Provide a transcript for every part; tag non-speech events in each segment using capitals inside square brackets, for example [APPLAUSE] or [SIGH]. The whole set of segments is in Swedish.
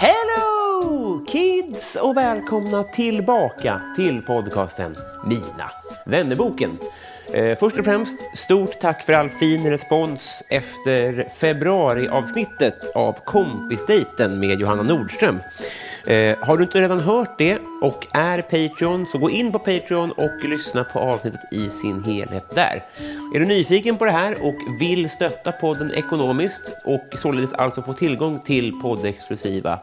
Hello kids och välkomna tillbaka till podcasten Mina vännerboken. Eh, först och främst, stort tack för all fin respons efter februariavsnittet av Kompisdejten med Johanna Nordström. Eh, har du inte redan hört det och är Patreon så gå in på Patreon och lyssna på avsnittet i sin helhet där. Är du nyfiken på det här och vill stötta podden ekonomiskt och således alltså få tillgång till poddexklusiva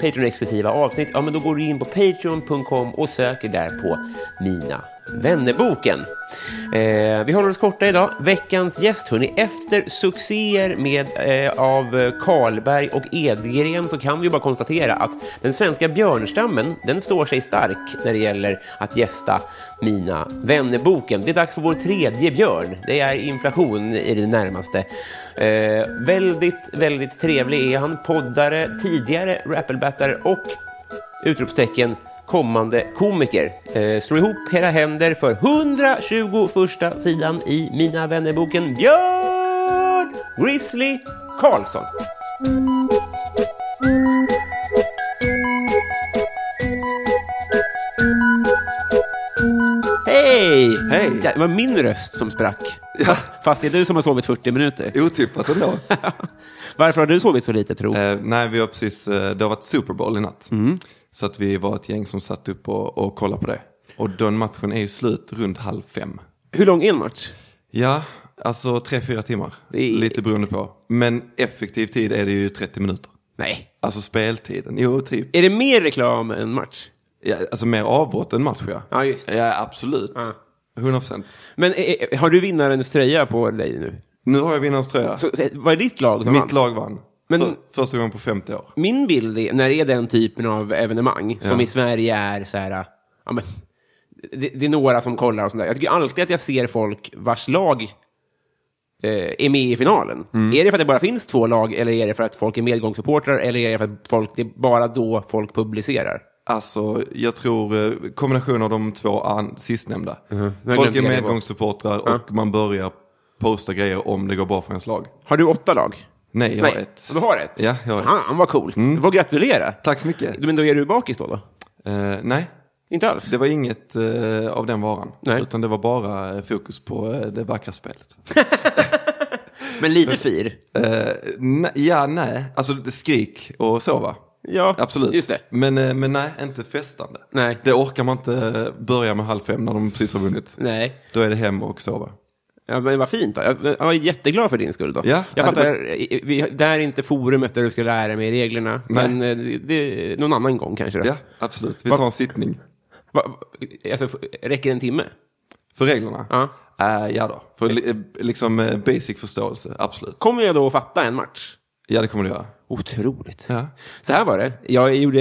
Patreon-exklusiva avsnitt, ja men då går du in på patreon.com och söker där på Mina vännerboken. Eh, vi håller oss korta idag. Veckans gäst, hörni, efter succéer med, eh, av Karlberg och Edgren så kan vi ju bara konstatera att den svenska björnstammen, den står sig stark när det gäller att gästa Mina vännerboken. Det är dags för vår tredje björn. Det är inflation i det närmaste. Eh, väldigt, väldigt trevlig är han. Poddare, tidigare rappelbattare och utropstecken kommande komiker. Eh, slå ihop era händer för 121 sidan i Mina vännerboken Björn Grizzly Karlsson. Hej! Hej. Ja, det var min röst som sprack. Fast det är du som har sovit 40 [LAUGHS] minuter. Otippat ändå. Varför har du sovit så lite, tro? [LAUGHS] eh, nej, vi har precis, eh, det har varit Super Bowl i natt. Mm. Så att vi var ett gäng som satt upp och, och kollade på det. Och den matchen är ju slut runt halv fem. Hur lång är en match? Ja, alltså tre, fyra timmar. Det är- Lite beroende på. Men effektiv tid är det ju 30 minuter. Nej. Alltså speltiden. Jo, typ. Är det mer reklam än match? Ja, alltså mer avbrott än match, ja. Ja, just det. Ja, absolut. 100 procent. Men eh, eh, har du vinnarens tröja på dig nu? Nu har jag vinnarens tröja. Så, eh, vad är ditt lag som vann? Mitt lag vann. Men- För, första gången på 50 år. Min bild är, när det är den typen av evenemang, som Ja. i Sverige är så här, ja, men, det, det är några som kollar och sånt där. Jag tycker alltid att jag ser folk vars lag eh, är med i finalen. Mm. Är det för att det bara finns två lag, eller är det för att folk är medgångssupportrar, eller är det för att folk, det är bara då folk publicerar? Alltså, jag tror eh, kombination av de två an- sistnämnda. Jag Folk glömde är Mhm. det. medgångssupportrar och man börjar posta grejer om det går bra för ens lag. Har du åtta lag? Nej, jag har ett. Du har ett? Ja, jag har ett. Mm. Fan, vad coolt. Du får gratulera. Tack så mycket. Men då är du bakis då? då? Eh, nej, Inte alls? det var inget eh, av den varan. Nej. Utan det var bara eh, fokus på eh, det vackra spelet. Men lite fir? Eh, nej, ja, nej. Alltså skrik och så va? Ja, Absolut. just det. Men, eh, men nej, inte festande. Nej. Det orkar man inte eh, börja med halv fem när de precis har vunnit. Nej. Då är det hem och sova. Ja, men vad fint. Då. Jag, jag var jätteglad för din skull. Då. Ja, jag ja, det fattar, eh, vi, det här är inte forumet där du ska lära mig reglerna, Nej. men eh, det, det, någon annan gång kanske. Då. Ja, absolut. Vi Vad- tar en sittning. Va, va- alltså, f- räcker en timme? För reglerna? Ja. Eh, ja då. För li- eh, liksom eh, basic förståelse, absolut. Kommer jag då att fatta en match? Ja, det kommer du göra. Otroligt. Ja. Så här var det. Jag gjorde,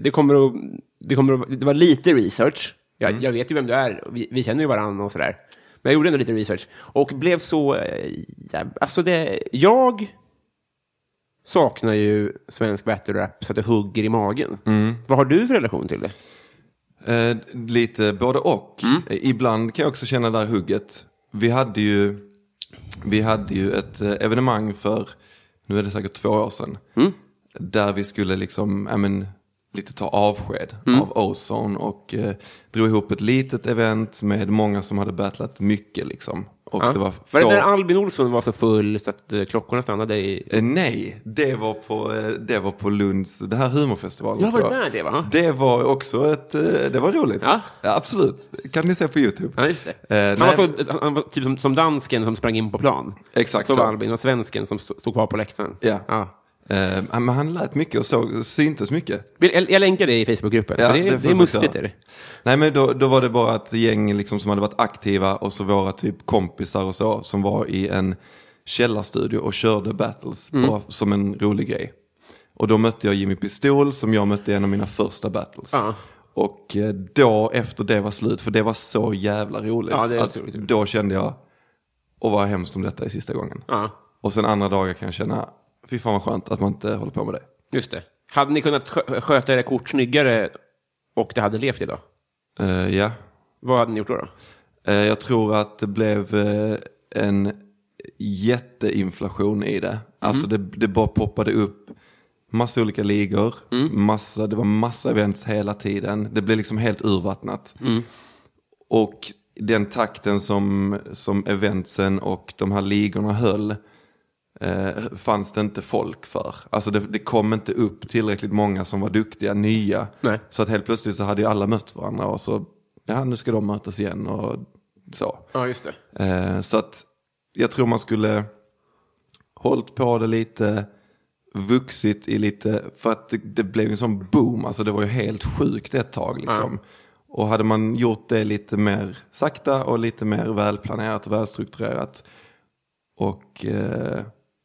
det kommer att, det kommer att, det var lite research. Jag, jag vet ju vem du är, vi, vi känner ju varandra och sådär. Men jag gjorde ändå lite research och blev så, eh, jäv- alltså det, jag saknar ju svensk battle rap så att det hugger i magen. Vad har du för relation till det? Eh, lite både och. Mm. Eh, Ibland kan jag också känna det där hugget. Vi hade ju, vi hade ju ett eh, evenemang för, nu är det säkert två år sedan, Mm. där vi skulle liksom, ja, men, lite ta avsked Mm. av Ozone och eh, drog ihop ett litet event med många som hade battlat mycket. Liksom. Och Ja. det var, var det få- när Albin Olsson var så full så att eh, klockorna stannade i... Eh, Nej, det var på, eh, det var på Lunds, det här humorfestivalen. Ja, var det tror jag. där det var? Det var också ett, eh, det var roligt. Ja. absolut. Kan ni se på YouTube. Ja, just det. Eh, han, var nej. så, han var typ som, som dansken som sprang in på plan. Exakt Så så. var Albin och svensken som st- stod kvar på läktaren. Ja. Eh, men han lät mycket och såg, syntes mycket. Vill- Jag, jag länkar det i Facebookgruppen. Ja, för det, får det, är jag mustigt. Är förklara. det. Nej men då, då var det bara ett gäng liksom som hade varit aktiva och så våra typ kompisar och så som var i en källarstudio och körde battles Mm. bara som en rolig grej. Och då mötte jag Jimmy Pistol som jag mötte i en av mina första battles. Ja. Och eh, då efter det var slut, för det var så jävla roligt. Ja, det är att otroligt roligt. då kände jag, och vad hemskt om detta är sista gången. Ja, Och sen andra dagar kan jag känna, fy fan vad skönt att man inte håller på med det. just det. Hade ni kunnat skö- sköta era kort snyggare och det hade levt idag? Eh, ja, Vad hade ni gjort då? då? Eh, Jag tror att det blev eh, en jätteinflation i det. Alltså det, det bara poppade upp massa olika ligor. Massa, det var massa events hela tiden. Det blev liksom helt urvattnat. Och den takten som, som eventsen och de här ligorna höll eh, fanns det inte folk för. Alltså det, det kom inte upp tillräckligt många som var duktiga, nya. Nej. Så att helt plötsligt så hade ju alla mött varandra och så, ja nu ska de mötas igen och så. Ja, just det. Eh, så att jag tror man skulle hållit på det lite, vuxit i lite, för att det, det blev en sån boom, alltså det var ju helt sjukt ett tag liksom. Och hade man gjort det lite mer sakta och lite mer välplanerat och välstrukturerat och eh,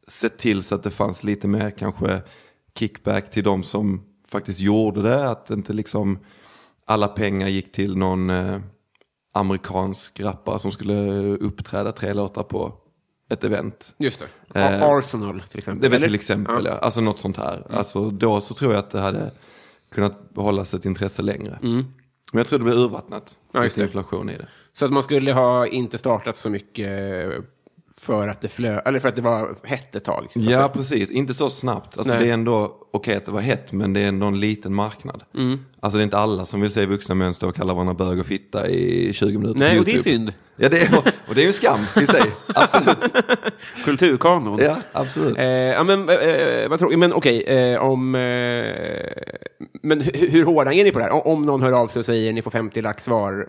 sett till så att det fanns lite mer kanske kickback till de som faktiskt gjorde det, att inte liksom alla pengar gick till någon eh, amerikansk rappare som skulle uppträda tre låtar på ett event. Just det. Eh, A- Arsenal till exempel. Det var eller? till exempel, ja. alltså något sånt här. Alltså, då så tror jag att det hade kunnat behålla sitt intresse längre. Men jag tror det blev urvattnat. Ja, just det. lite inflation i Mm. det. Så att man skulle ha inte startat så mycket för att det flö... Eller för att det var hett ett tag. Så att Ja, precis. Inte så snabbt. Alltså, Nej. det är ändå okej att det var hett, men det är ändå en liten marknad. Alltså det är inte alla som vill se vuxna män stå och kalla varandra bög och fitta i 20 minuter Nej, på och det är YouTube. synd. Ja, det är, och det är ju en skam i [LAUGHS] sig. Absolut. Kulturkanon. Ja, absolut. Eh, ja, men, eh, vad tror, men okej, eh, om... Eh, men hur, hur hårda är ni på det här? O- Om någon hör av sig och säger ni får 50 lax var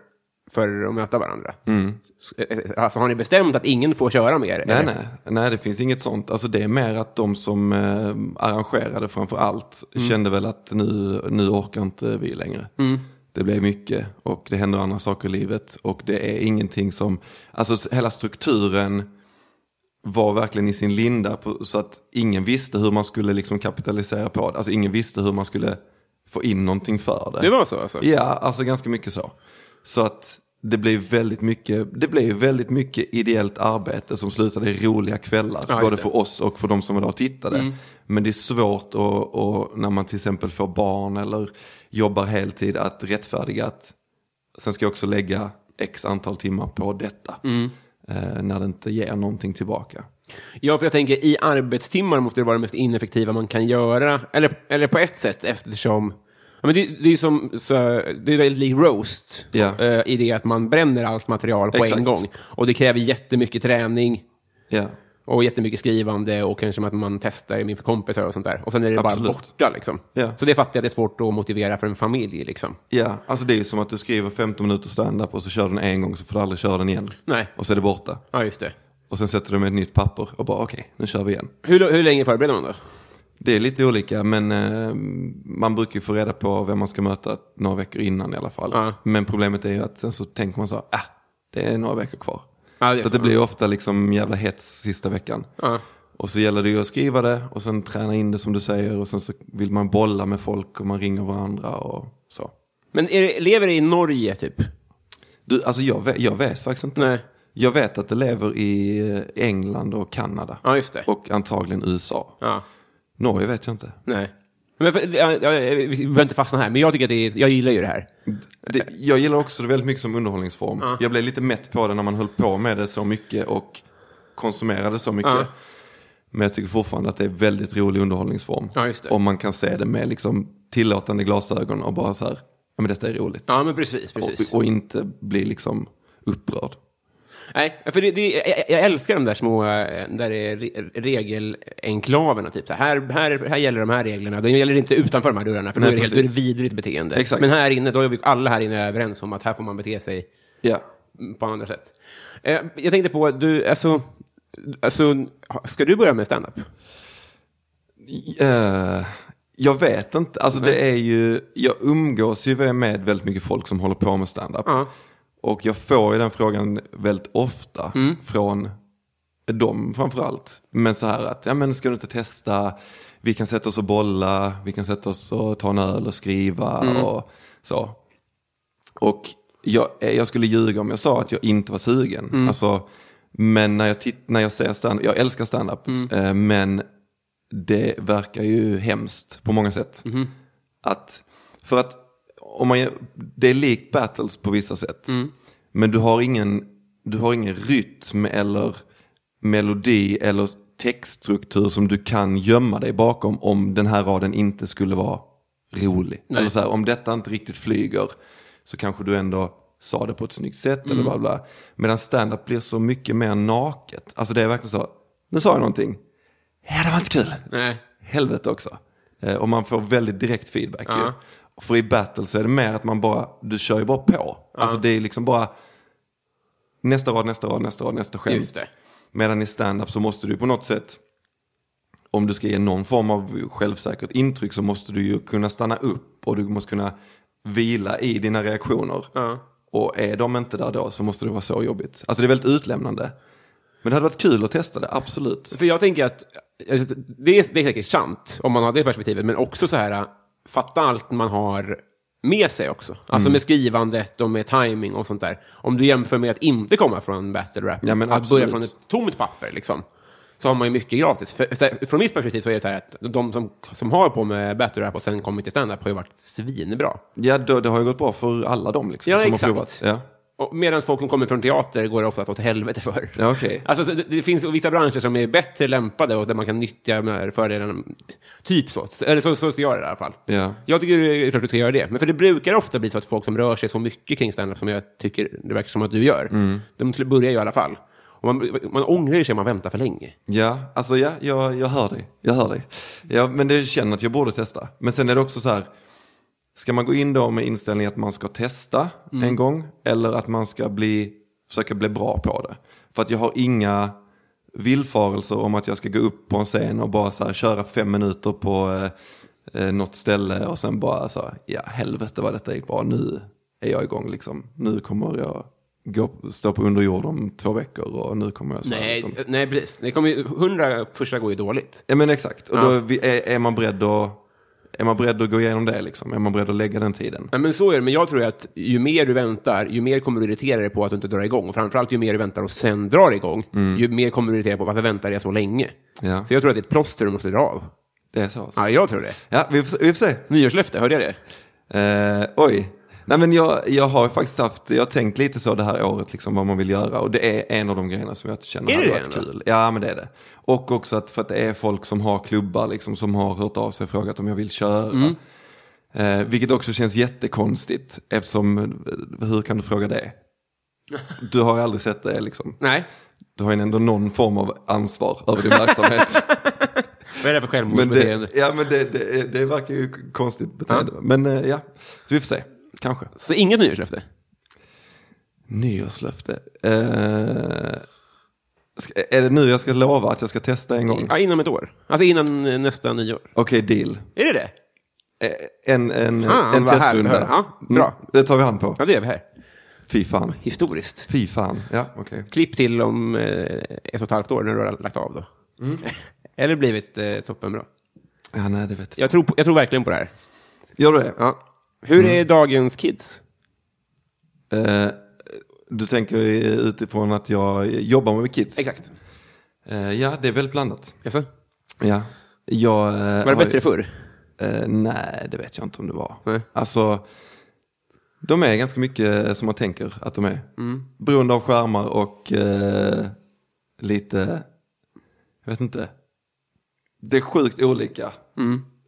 för att möta varandra. S- eh, eh, Alltså, har ni bestämt att ingen får köra mer? Mm. Nej, eller? nej. nej, det finns inget sånt. Alltså, det är mer att de som eh, arrangerade framför allt kände väl att nu, nu orkar inte vi längre. Det blev mycket och det händer andra saker i livet. Och det är ingenting som, alltså s- hela strukturen var verkligen i sin linda på, så att ingen visste hur man skulle liksom kapitalisera på det. Alltså ingen visste hur man skulle få in någonting för det. Det var så alltså? Ja, alltså ganska mycket så. Så att det blev väldigt mycket, det blev väldigt mycket ideellt arbete som slutade i roliga kvällar. Ja, just både det. Mm. för oss och för de som var där och tittade. Men det är svårt att, att, när man till exempel får barn eller jobbar heltid att rättfärdiga att sen ska jag också lägga x antal timmar på detta. Mm. Eh, när det inte ger någonting tillbaka. Ja, för jag tänker i arbetstimmar måste det vara det mest ineffektiva man kan göra. Eller, eller på ett sätt eftersom... Ja, men det, det är ju som, så, det är väldigt lik roast Ja. eh, i det att man bränner allt material på en Exakt. gång. Och det kräver jättemycket träning Ja, och jättemycket skrivande och kanske att man testar inför kompisar och sånt där. Och sen är det bara Absolut. borta liksom. Ja. Så det fattar jag, det är svårt att motivera för en familj liksom. ja alltså det är ju som att du skriver 15 minuter stand-up och så kör du den en gång så får du aldrig köra den igen. Nej. Och så är det borta. Ja, just det. Och sen sätter de ett nytt papper och bara okej, nu kör vi igen. Hur, hur länge förbereder man då? Det är lite olika men eh, man brukar ju få reda på vem man ska möta några veckor innan i alla fall. Ja. Men problemet är ju att sen så tänker man så här, ah, det är några veckor kvar. Ja, det är så att så, det blir ju ofta liksom jävla hets sista veckan. Ja. Och så gäller det ju att skriva det och sen träna in det som du säger och sen så vill man bolla med folk och man ringer varandra och så. Men är, det- lever det i Norge typ? Du, alltså jag vet, jag vet faktiskt inte. Nej. Jag vet att det lever i eh, England och Kanada. Ja, just det. Och antagligen USA. Ja. Norge vet jag inte. Nej. Men för, ja, ja, vi behöver inte fastna här, men jag tycker att det är, jag gillar ju det här. Det, jag gillar också det väldigt mycket som underhållningsform. Mm. Ja. Jag blev lite mätt på det när man höll på med det så mycket och konsumerade så mycket. Ja. Men jag tycker fortfarande att det är väldigt rolig underhållningsform. Ja, just det. Om man kan se det med liksom tillåtande glasögon och bara så här, ja men detta är roligt. Ja, men precis, precis. och, och inte bli liksom upprörd. Nej, för det, det, jag, jag älskar de där små eh, där det är re- regelenklaverna. Typ. Så här, här, här gäller de här reglerna. De gäller inte utanför de här dörrarna, för Nej, då är det helt då är det precis. vidrigt beteende. Exakt. Men här inne, då är vi alla här inne överens om att här får man bete sig Ja, på andra sätt. Eh, jag tänkte på, du, alltså, alltså, ha- ska du börja med stand-up? Eh, jag vet inte. Alltså det är ju, jag umgås ju med väldigt mycket folk som håller på med stand-up. Ja. Och jag får ju den frågan väldigt ofta från dem framförallt. Men så här att, ja men ska du inte testa, vi kan sätta oss och bolla, vi kan sätta oss och ta en öl och skriva och så. Och jag, eh, jag skulle ljuga om jag sa att jag inte var sugen. Alltså, men när jag, titt, när jag ser stand jag älskar stand-up, eh, men det verkar ju hemskt på många sätt. Att, för att om man, gör- det är likt battles på vissa sätt. Men du har, ingen, du har ingen rytm eller melodi eller textstruktur som du kan gömma dig bakom om den här raden inte skulle vara rolig. Eller så här, om detta inte riktigt flyger så kanske du ändå sa det på ett snyggt sätt eller bla bla. Medan stand-up blir så mycket mer naket. Alltså det är verkligen så, nu sa jag någonting, ja det var inte kul Nej. helvete också. Eh, och man får väldigt direkt feedback ju. Ja. För i battle så är det mer att man bara, du kör ju bara på. Alltså det är liksom bara nästa rad, nästa rad, nästa rad, nästa skämt. Just det. Medan i stand-up så måste du på något sätt, om du ska ge någon form av självsäkert intryck så måste du ju kunna stanna upp och du måste kunna vila i dina reaktioner. Och är de inte där då så måste det vara så jobbigt. Alltså det är väldigt utlämnande. Men det hade varit kul att testa det, absolut. För jag tänker att alltså, det är, det är säkert sant om man har det perspektivet, men också så här, fatta allt man har med sig också. Alltså Mm. med skrivandet och med timing och sånt där. Om du jämför med att inte komma från battle rap, Ja, men att absolut. börja från ett tomt papper liksom, så har man ju mycket gratis. För, så här, från mitt perspektiv så är det så här att de som, som har på med battle rap och sen kommit till stand-up har ju varit svinbra. Ja, det, det har ju gått bra för alla dem liksom, Ja, som exakt. har provat. Ja. Och medan folk som kommer från teater går det ofta åt helvete för. Ja, okej. Alltså, så det, det finns vissa branscher som är bättre lämpade och där man kan nyttja de här fördelarna. Typ så. Eller så, så ser jag det i alla fall. Ja. Jag tycker det är klart att du ska göra det. Men för det brukar ofta bli så att folk som rör sig så mycket kring standup som jag tycker det verkar som att du gör, de skulle börja i alla fall. Och man, man ångrar ju sig om man väntar för länge. Ja, alltså ja, jag, jag hör dig. Jag hör dig. Ja, men det känner att jag borde testa. Men sen är det också så här, ska man gå in då med inställningen att man ska testa en gång eller att man ska bli, försöka bli bra på det? För att jag har inga villfarelser om att jag ska gå upp på en scen och bara så här, köra fem minuter på eh, eh, något ställe och sen bara så här, ja helvete vad detta gick bra, nu är jag igång liksom. Nu kommer jag gå, stå på underjord om två veckor och nu kommer jag så här, Nej, liksom. nej precis. Det kommer ju, hundra första går ju dåligt. Ja men exakt, och Ja. då är, vi- är, är, man beredd att, är man beredd att gå igenom det liksom? Är man beredd att lägga den tiden? Nej, men så är det. Men jag tror att ju mer du väntar, ju mer kommer du irritera dig på att du inte drar igång. Och framförallt ju mer du väntar och sen drar igång, ju mer kommer du irritera dig på varför väntar jag så länge. Mm. Ja. Så jag tror att det är ett plåster du måste dra av. Det är så? Alltså. Ja, jag tror det. Ja, vi får, se- vi får se. Nyårslöfte, hörde jag det? Eh, oj. Nej men jag, jag har faktiskt haft, jag har tänkt lite så det här året liksom vad man vill göra och det är en av de grejerna som jag känner Är hade det varit det ändå? kul. Ja men det är det. Och också att, för att det är folk som har klubbar liksom som har hört av sig och frågat om jag vill köra. Mm. Eh, vilket också känns jättekonstigt eftersom, eh, hur kan du fråga det? Du har ju aldrig sett det liksom. Nej. Du har ju ändå någon form av ansvar över [LAUGHS] din verksamhet. Vad är det för men självmordsbeteende? det, ja, men det, det, det verkar ju konstigt beteende. Men eh, ja, så vi får se. Kanske. Så inget nyårslöfte? Nyårslöfte. Eh, ska- är det nu jag ska lova att jag ska testa en gång? Ja, inom ett år. Alltså innan eh, nästa nyår. Okej, deal. Är det det? Eh, En, en, Fan, en Ah, vad härligt testrunda. att höra. Ja, bra. Mm, det tar vi hand på. Ja, det är vi här. Fy fan. Historiskt. Fy fan. Ja, okej. Klipp till om eh, ett och ett halvt år när du har lagt av då. Mm. [LAUGHS] Eller blivit eh, toppenbra. Ja, nej, det vet jag. Jag tror, på, jag tror verkligen på det här. Gör du det? Ja. Hur Mm. är dagens kids? Eh, du tänker utifrån att jag jobbar med kids? Exakt. Eh, ja, det är väldigt blandat. Jaså? Ja. Jag, eh, Var har det ju- bättre förr? Eh, nej, det vet jag inte om det var. Nej. Alltså, de är ganska mycket eh, som man tänker att de är. Mm. Beroende av skärmar och eh, lite, jag vet inte. Det är sjukt olika.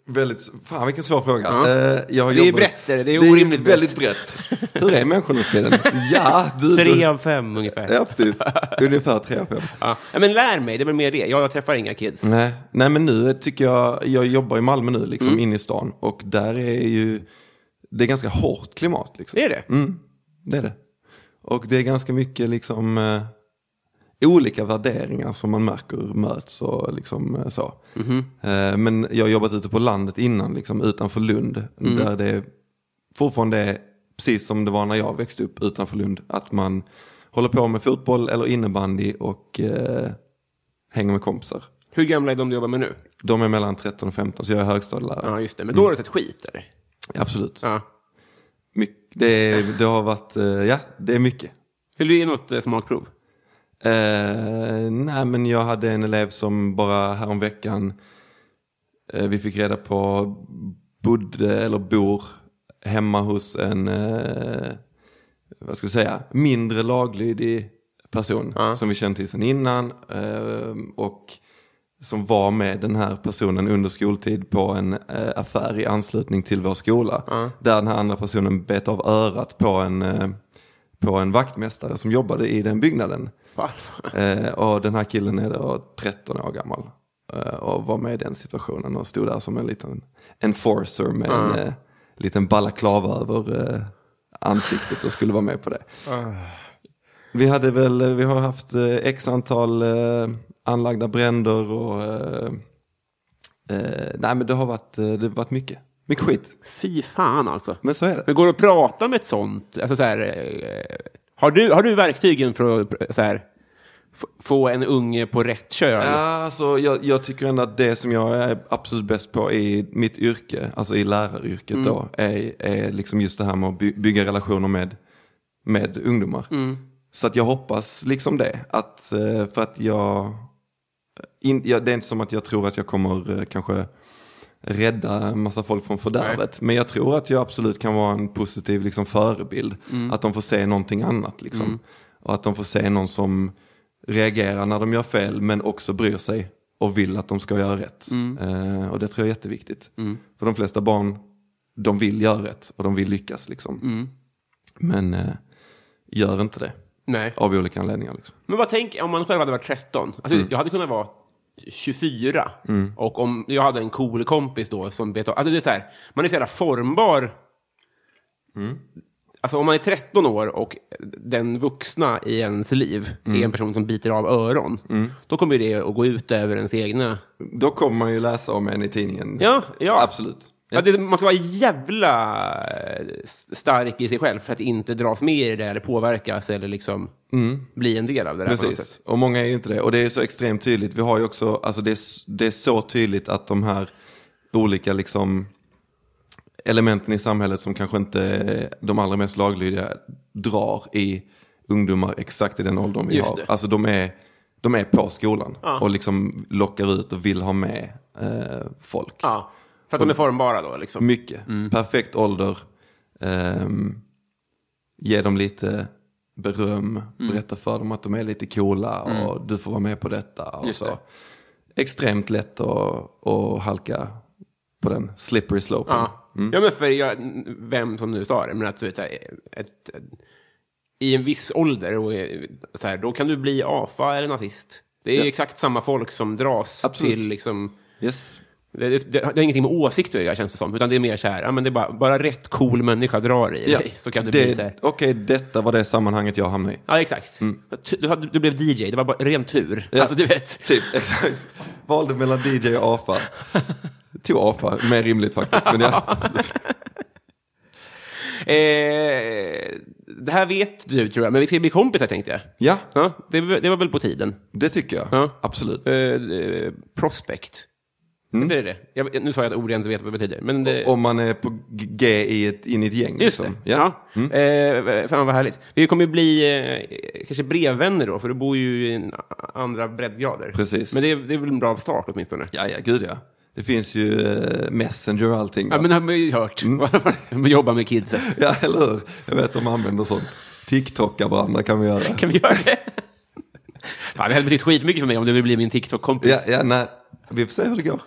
Väldigt, fan vilken svår fråga. Eh, jag Mm. Det är brett, det är orimligt brett. väldigt brett. Hur är människor nu [LAUGHS] för tiden? Ja, du, Tre du, av fem ungefär. ja, precis. Ungefär tre av fem. Ja. Ja, men lär mig, det är väl mer det. Ja, jag träffar inga kids. Nej, nej men nu tycker jag, jag jobbar i Malmö nu liksom Mm. inne i stan och där är ju, det är ganska hårt klimat liksom. Det är det. Mm, det är det. Och det är ganska mycket liksom eh, olika värderingar som man märker möts och liksom eh, så. Mhm. Eh, men jag har jobbat ute på landet innan, liksom utanför Lund, Mm. där det fortfarande är precis som det var när jag växte upp utanför Lund, att man håller på med fotboll eller innebandy och eh, hänger med kompisar. Hur gamla är de du jobbar med nu? De är mellan 13 och 15, så jag är högstadielärare. Ja, just det. Men då har du sett skit, eller? Absolut. Ja. Myck, det, är- det har varit, eh, ja, det är mycket. Vill du ge något eh, smakprov? Eh, nej, men jag hade en elev som bara häromveckan, eh, vi fick reda på, bodde eller bor hemma hos en, eh, vad ska vi säga, mindre laglydig person som vi känt till sedan innan. Eh, och som var med den här personen under skoltid på en eh, affär i anslutning till vår skola. Där den här andra personen bet av örat på en, eh, på en vaktmästare som jobbade i den byggnaden. Eh, och den här killen är då 13 år gammal. Eh, och var med i den situationen och stod där som en liten enforcer med en eh, liten balaklava över eh, ansiktet och skulle vara med på det. Vi hade väl, vi har haft eh, x antal eh, anlagda bränder och eh, eh, nej men det har varit, eh, det har varit mycket. Mycket skit. Fy fan, alltså. Men så är det. Men går det att prata med ett sånt? Alltså, så här, eh, har, du, har du verktygen för att eh, så här, f- få en unge på rätt köl? Ja, alltså, jag, jag tycker ändå att det som jag är absolut bäst på i mitt yrke, alltså i läraryrket då, är, är liksom just det här med att by, bygga relationer med, med ungdomar. Så att jag hoppas liksom det, att, eh, för att jag, in, jag, det är inte som att jag tror att jag kommer eh, kanske rädda en massa folk från fördärvet. Men jag tror att jag absolut kan vara en positiv liksom, förebild. Mm. Att de får se någonting annat. Liksom. Och att de får se någon som reagerar när de gör fel men också bryr sig och vill att de ska göra rätt. Mm. Eh, och det tror jag är jätteviktigt. För de flesta barn, de vill göra rätt och de vill lyckas. Liksom. Mm. Men eh, gör inte det. Nej. Av olika anledningar. Liksom. Men vad tänk om man själv hade varit 13? Alltså, Jag hade kunnat vara 24. Och om jag hade en cool kompis då som bet av- alltså, det är så här, Man är så jävla formbar. Alltså om man är 13 år och den vuxna i ens liv är en person som biter av öron. Då kommer ju det att gå ut över ens egna... Då kommer man ju läsa om en i tidningen. Ja, ja. Absolut. Ja, Alltså, det, man ska vara jävla eh, s- stark i sig själv för att inte dras med i det eller påverkas eller liksom bli en del av det där. på något sätt. Precis, och många är ju inte det. Och det är så extremt tydligt. Vi har ju också, alltså det är, s- det är så tydligt att de här olika liksom elementen i samhället som kanske inte är de allra mest laglydiga drar i ungdomar exakt i den åldern vi Just har. det. Alltså de är, de är på skolan och liksom lockar ut och vill ha med eh, folk. Ja, för att de är formbara då liksom. Mycket. Perfekt ålder. Ehm, ge dem lite beröm. Mm. Berätta för dem att de är lite coola och du får vara med på detta. Och Just så. det. Extremt lätt att, att halka på den slippery slopen. Ja. Mm. ja, men för jag, vem som nu sa det, men att du vet, så här, ett, ett, i en viss ålder, och, eh, så här, då kan du bli AFA eller nazist. Det är ju Ja. exakt samma folk som dras Absolut. till liksom... [LAUGHS] Yes. Det, det, det har ingenting med åsikt att göra, känns det som. Utan det är mer så här, ja, men det är bara, bara rätt cool människa drar i Ja. dig. Så kan du bli så här. det, Okej, detta var det sammanhanget jag hamnade i. Ja, exakt. Du, du, hade- du blev DJ, det var bara ren tur. Mm. Ja. Alltså, du vet. Typ, [LAUGHS] exakt. Valde mellan DJ och AFA. Tog AFA, mer rimligt faktiskt. [LAUGHS] Men ja. Eh, det här vet du, tror jag, men vi ska bli kompisar, tänkte jag. ja, Ja, det, det var väl på tiden. det tycker jag. Ja. Absolut. Eh, eh, prospect. Heter det det? Jag, nu sa jag ett ord jag inte vet vad det betyder. Men det, Mm. Om man är på g- G i ett, in i ett gäng. just det. liksom. Mm. Ja. Eh, fan vad härligt. Vi kommer ju bli eh, kanske brevvänner då, för du bor ju i en a- andra breddgrader. Precis. Men det, det är väl en bra start åtminstone. Ja, ja, gud ja. Det finns ju eh, Messenger och allting. va? Ja, men det har man ju hört. [LAUGHS] Mm. Jobba med kidsen. Ja, eller hur? Jag vet att de använder sånt. TikTokar varandra kan vi göra. Kan vi göra det? Fan, det hade betytt skitmycket för mig om du vill bli min TikTok-kompis. Ja, ja, nej. Vi får se hur det går.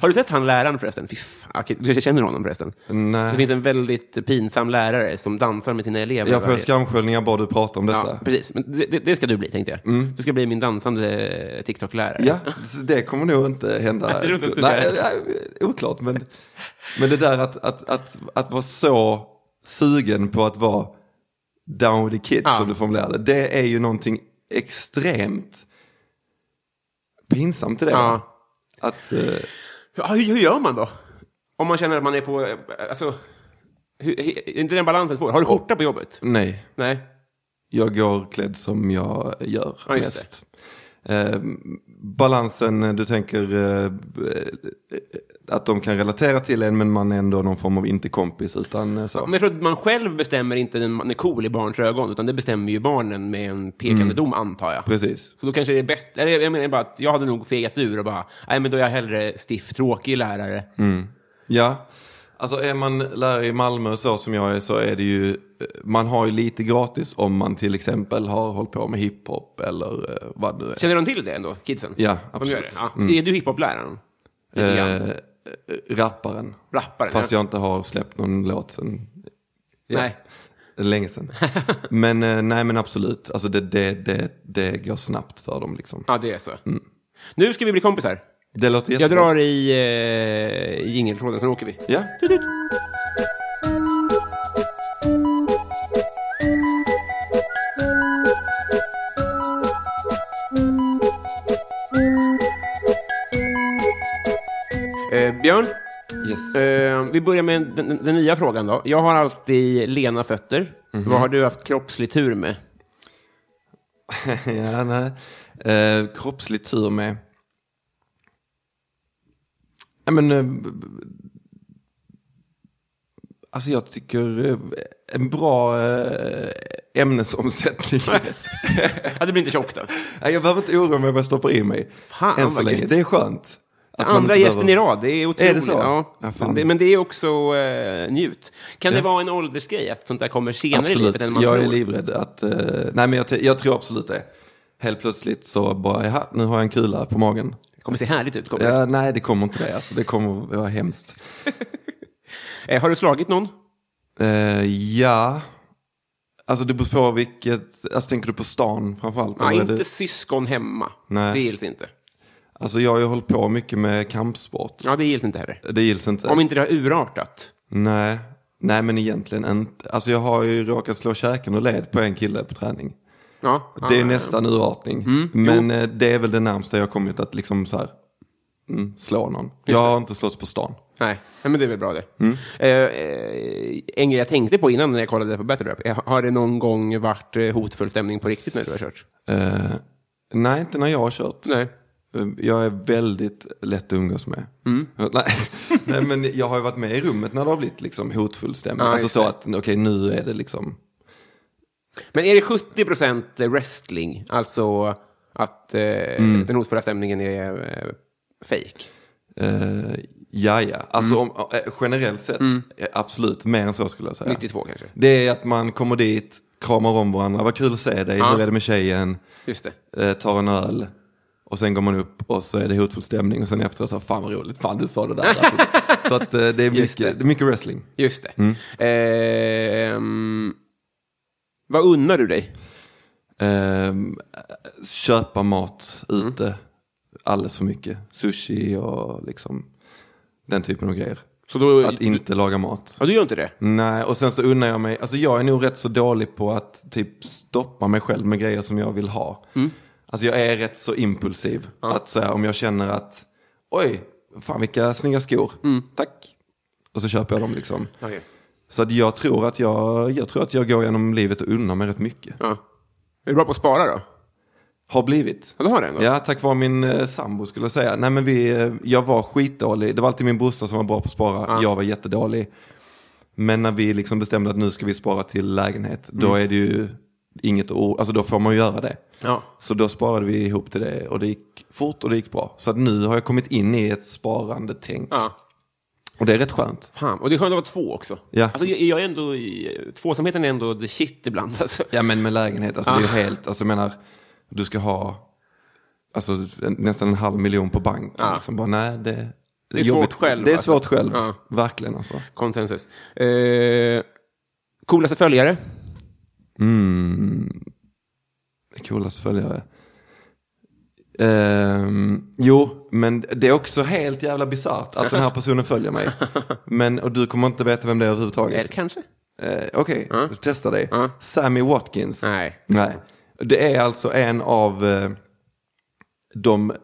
Har du sett han läraren förresten? Fy fan, okej, du känner honom förresten? Nej. Det finns en väldigt pinsam lärare som dansar med sina elever. Jag får varje- skamsköljningar bara du pratar om detta. Ja, precis. Men det, det- det ska du bli, tänkte jag. Du ska bli min dansande eh, TikTok-lärare. Mm. Ja, så det kommer nog inte hända. Jag tror inte det nej, heller. nej, oklart, men, men det där att, att, att, att vara så sugen på att vara down with the kids Ja. som du formulerade, det är ju någonting extremt pinsamt i det. Ja. Att, eh, Ja, hur, hur gör man då? Om man känner att man är på... eh, Alltså, hur, he- är inte den balansen svår? Har du skjorta på jobbet? nej, Nej. jag går klädd som jag gör Ja, just mest. Eh, balansen, du tänker eh, att de kan relatera till en men man är ändå någon form av inte kompis utan eh, så. Men jag tror att man själv bestämmer inte när man är cool i barns ögon, utan det bestämmer ju barnen med en pekande dom, antar jag. Mm. Precis. Så då kanske det är bättre. Eller jag menar bara att jag hade nog fegat ur och bara, nej men då är jag hellre stiff, tråkig lärare. Mm. Ja, alltså är man lärare i Malmö och så som jag är så är det ju, eh, man har ju lite gratis om man till exempel har hållit på med hiphop eller eh, vad nu är. Känner de till det ändå, kidsen? Ja, De gör absolut. Mm. det? Ja. Är du hiphop-läraren? Lite grann. Eh, eh, rapparen. Rapparen, Fast ja. jag inte har släppt någon låt sen. Ja, Nej. [LAUGHS] Länge sen. men eh, nej men absolut, alltså det, det, det, det går snabbt för dem liksom. Ja, det är så. Nu ska vi bli kompisar. Det låter Jag jättebra. drar i eh, i jingeltråden, sen åker vi. Ja. Eh, Björn, Yes. eh, vi börjar med den, den, den nya frågan då. Jag har alltid lena fötter. Vad har du haft kroppslig tur med? [LAUGHS] ja, nej. Eh, kroppslig tur med. Ja, men, eh, b- b- alltså jag tycker eh, en bra eh, [LAUGHS] ämnesomsättning. [LAUGHS] Ja, det blir inte tjockt då. Nej, jag behöver inte oroa mig vad jag stoppar i mig. Fan, än så vad länge. gött. Det är skönt. att man Andra inte gästen i behöver- rad, det är otroligt. Är det så? Ja. Ja, fan. men, det, men det är också eh, njut. Kan det Ja. vara en åldersgrej att sånt där kommer senare i Absolut, livet än man jag är tror? livrädd att... eh, nej, men jag, t- jag tror absolut det. Helt plötsligt så bara, jaha, nu har jag en kula på magen. Det kommer se härligt ut. Kommer Ja, nej, det kommer inte det. Alltså, det kommer vara hemskt. det. Eh, har du slagit någon? Eh, ja. Alltså det beror på vilket, alltså tänker du på stan framförallt? Nej, eller är inte det, syskon hemma. Nej. Det gills inte. alltså jag har ju hållit på mycket med kampsport. Ja, det gills inte heller. Det gills inte. Om inte det har urartat. Nej. Nej men egentligen inte. Alltså jag har ju råkat slå käken och led på en kille på träning. Ja, Det är Ah, ja, Mm. nästan urartning. men eh, det är väl det närmsta jag har kommit att liksom så här, mm, slå någon. jag har inte slått på stan. Nej, Nej, men det är väl bra det. Mm. Eh, eh, en grej jag tänkte på innan när jag kollade på Battle Rap, eh, har det någon gång varit eh, hotfull stämning på riktigt när du har kört? Eh, nej, inte när jag har kört. Nej. Eh, Jag är väldigt lätt att umgås med. Mm. [LAUGHS] Nej, nej, men jag har ju varit med i rummet när det har blivit liksom hotfull stämning. Ja, alltså just så det. att, okej nu är det liksom... Men är det 70 procent wrestling, alltså att eh, Mm. den hotfulla stämningen är eh, fake? Uh, ja, ja. Alltså Mm. om, eh, generellt sett, eh, absolut. Mer än så skulle jag säga. 92 kanske? Det är att man kommer dit, kramar om varandra, vad kul att se dig, hur är det med tjejen, Just det. Eh, tar en öl. Och sen går man upp och så är det hotfull stämning och sen efter så, fan vad roligt, fan du sa det där. [LAUGHS] Alltså, så att eh, det, är mycket, Just det. är mycket wrestling. Just det. Mm. Eh, ehm, vad unnar du dig? Ehm, köpa mat ute alldeles för mycket. Sushi och liksom den typen av grejer. Så då, Att inte laga mat. ja, du gör inte det? Nej, och sen så unnar jag mig, alltså jag är nog rätt så dålig på att typ stoppa mig själv med grejer som jag vill ha. Alltså jag är rätt så impulsiv. Att så här, om jag känner att, oj, fan vilka snygga skor, tack. Och så köper jag dem liksom. Okej. Så att jag, tror att jag, jag tror att jag går genom livet och unnar mig rätt mycket. Ja. Är du bra på att spara då? Har blivit. Ja, du har det ändå? Ja, tack vare min eh, sambo skulle jag säga. Nej, men vi, eh, jag var skitdålig. Det var alltid min brorsa som var bra på att spara. Jag var jättedålig. Men när vi liksom bestämde att nu ska vi spara till lägenhet, då är det ju inget ord, alltså då får man ju göra det. Ja. Så då sparade vi ihop till det och det gick fort och det gick bra. Så att nu har jag kommit in i ett sparande tänk. Ja. Och det är rätt skönt. Fan. Och det är skönt att vara två också. Ja. Alltså, jag, jag är ändå i, tvåsamheten är ändå the shit ibland. [LAUGHS] Alltså. Ja men med lägenhet, alltså det är Ah. ju helt, alltså jag menar, du ska ha alltså, en- nästan en halv miljon på banken. Ja. Liksom. Bara, nej, det, det, Ah. är svårt jobbigt. själv, Det är alltså. svårt själv, Ja. verkligen alltså. Konsensus. Eh, coolaste följare? Coolaste följare. Ehm, jo, men det är också helt jävla bisarrt att den här personen [LAUGHS] följer mig. Men, och du kommer inte veta vem det är Eller överhuvudtaget. kanske? Eh, Okej, testa dig. Ja. Sammy Watkins. Nej. Nej. Det är alltså en av eh, de eh,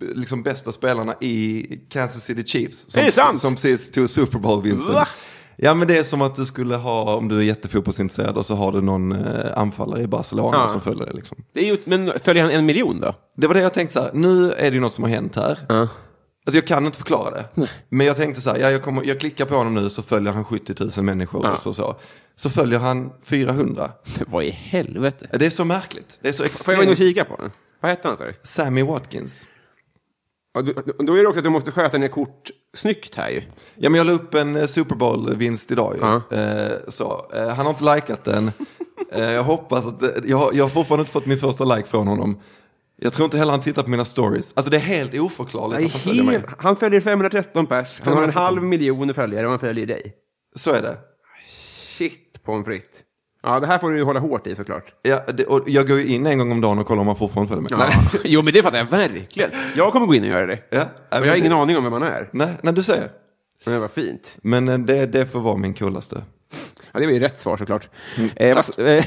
liksom bästa spelarna i Kansas City Chiefs. Som, Är det sant? Som precis tog Super Bowl-vinsten. Va? Ja men det är som att du skulle ha, om du är jättefotbollsintresserad och så har du någon eh, anfallare i Barcelona Ja. som följer dig liksom. Det är ju, men följer han en miljon då? Det var det jag tänkte så här, nu är det ju något som har hänt här. Ja. Alltså jag kan inte förklara det. Men jag tänkte så här, ja, jag, kommer, jag klickar på honom nu så följer han 70 000 människor Ja. och så, så. Så följer han 400. [LAUGHS] Vad i helvete? Det är så märkligt. Det är så Får jag gå in och extremt. kika på den? Vad hette han sa du? Sammy Watkins. Ja, du- du- Då är det också att du måste sköta dina kort snyggt här ju. Ja, men jag la upp en eh, Super Bowl-vinst idag ju. Ja. Eh, så, eh, han har inte [LAUGHS] likat den. eh, jag hoppas att... eh, jag, har- jag har fortfarande inte fått min första like från honom. Jag tror inte heller han tittar på mina stories. Alltså det är helt oförklarligt Nej, att han följer mig. helt- han följer 513 pers, han har en 513. halv miljon följare och han följer dig. Så är det. Shit på en fritt. Ja, det här får du ju hålla hårt i såklart. Ja, det och jag går ju in en gång om dagen och kollar om han fortfarande följer mig. Ja. Nej. [LAUGHS] Jo, men det fattar jag verkligen. Jag kommer gå in och göra det. Ja, och men jag har ingen det- aning om vem man är. Nej, nej, du ser. Men vad fint. Men eh, det, det får vara min coolaste. Ja, det var ju rätt svar såklart. Mm. Eh, vad, eh,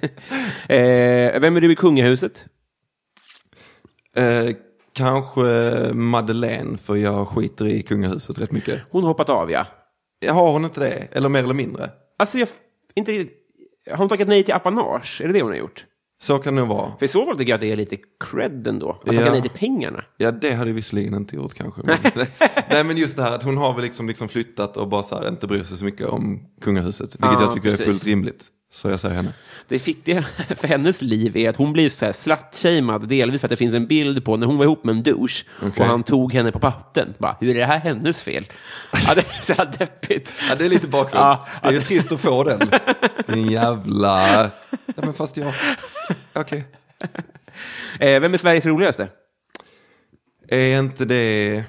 [LAUGHS] eh, vem är du i kungahuset? Eh, kanske Madeleine, för jag skiter i kungahuset rätt mycket. Hon har hoppat av, ja. Jag har hon inte det? Eller mer eller mindre? Alltså, jag... Inte, riktigt- har hon tackat nej till apanage? Är det det hon har gjort? Så kan det nog vara. För i så fall tycker jag att det är lite cred ändå. Att Ja. tacka nej till pengarna. Ja, det hade jag visserligen inte gjort kanske. Men, [LAUGHS] nej, men just det här att hon har väl liksom, liksom flyttat och bara så här, inte bryr sig så mycket om kungahuset. Vilket Ja, jag tycker precis. är fullt rimligt. Så jag säger henne. Det fittiga [LAUGHS] för hennes liv är att hon blir så här slut-shamed delvis för att det finns en bild på när hon var ihop med en douche Okej. och han tog henne på patten. Bara, hur är det här hennes fel? ja, det är så här deppigt. Ja, det är lite bakvänt. Ja, det är ju trist att få den. Din jävla... Ja, men fast jag... Okej. Eh, vem är Sveriges roligaste? Är inte det...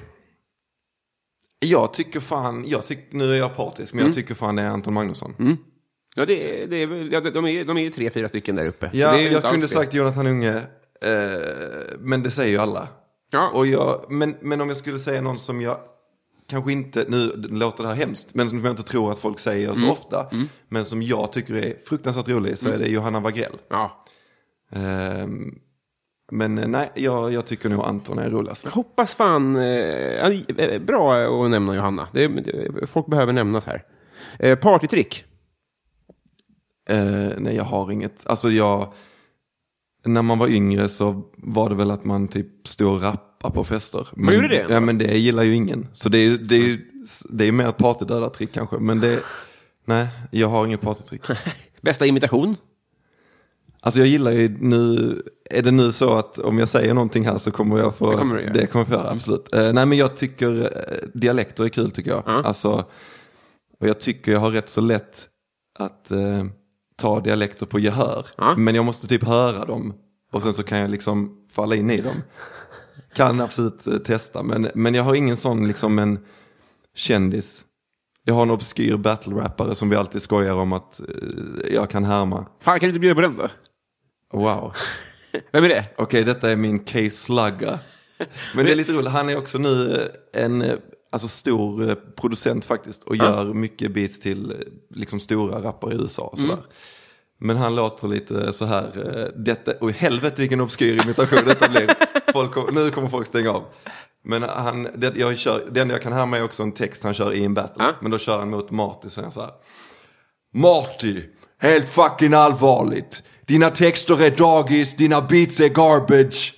Jag tycker fan, jag tyck, nu är jag partisk, men Mm. jag tycker fan det är Anton Magnusson. Ja, det, är- det är, väl- ja, de- de är de är ju tre, fyra stycken där uppe. Så Ja, det är ju jag inte alls kunde fel. sagt Jonathan Unge, eh, men det säger ju alla. Ja. Och jag, men, men om jag skulle säga någon som jag kanske inte, nu låter det här hemskt, men som jag inte tror att folk säger så Mm. ofta, men som jag tycker är fruktansvärt rolig, så är det Johanna Wagrell. Ja. Eh, men eh, nej, jag, jag tycker nog Anton är roligast. Jag hoppas fan... Eh, ja, eh, bra att nämna Johanna. Det, det, folk behöver nämnas här. Eh, partytrick. Eh, nej, jag har inget. Alltså jag... När man var yngre så var det väl att man typ stod och rappade på fester. Men, gjorde det ändå? Ja, men det gillar ju ingen. Så det är ju det är ju, det är ju mer ett partydödartrick kanske. Men det... Nej, jag har inget partytrick. Bästa imitation. Alltså jag gillar ju nu... Är det nu så att om jag säger någonting här så kommer jag få... Det kommer du göra. det kommer jag få göra, absolut. Eh, nej, men jag tycker eh, dialekter är kul tycker jag. Alltså, och jag tycker jag har rätt så lätt att eh, ta dialekter på gehör. Ja. Men jag måste typ höra dem och sen så kan jag liksom falla in i dem. Kan absolut eh, testa, men, men jag har ingen sån liksom en kändis. Jag har en obskyr battle-rappare som vi alltid skojar om att eh, jag kan härma. Fan, kan du inte bjuda på den då? Wow. Vem är det? Okej, detta är min case slugga. Men det är lite roligt, han är också nu eh, en eh, alltså, stor eh, producent faktiskt och gör mycket beats till eh, liksom, stora rappare i USA. Och sådär. Men han låter lite så här, eh, detta, oj helvete vilken obskyr imitation detta blir. Folk, kom- nu kommer folk stänga av. Men han, det, jag kör, det enda jag kan härma är också en text han kör i en battle. Ja. Men då kör han mot Marty så är han så här. Marty, helt fucking allvarligt. Dina texter är dagis, dina beats är garbage.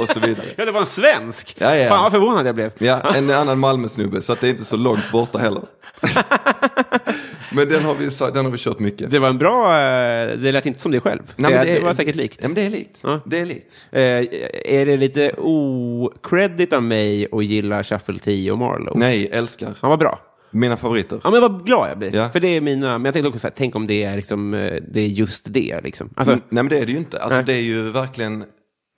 Och så vidare. Ja, det var en svensk! Ja, ja. Fan, vad förvånad jag blev. Ja, en annan Malmösnubbe, så att det är inte så långt borta heller. [LAUGHS] Men den har, vi, sa- den har vi kört [LAUGHS] mycket. Det var en bra... eh, Det lät inte som dig själv. Nej, Så men det, det var säkert likt. Ja, men det är likt. Ja. Det är likt. Eh, är det lite okredit av mig att gilla Shuffle 10 och Marlowe? Nej, älskar. Han var bra. Mina favoriter. Ja, men vad glad jag blir. Ja. För det är mina... Men jag tänkte också så här, tänk om det är, liksom, eh, det är just det. Liksom. Alltså, Mm, Nej men det är det ju inte. Alltså, Nej. det är ju verkligen,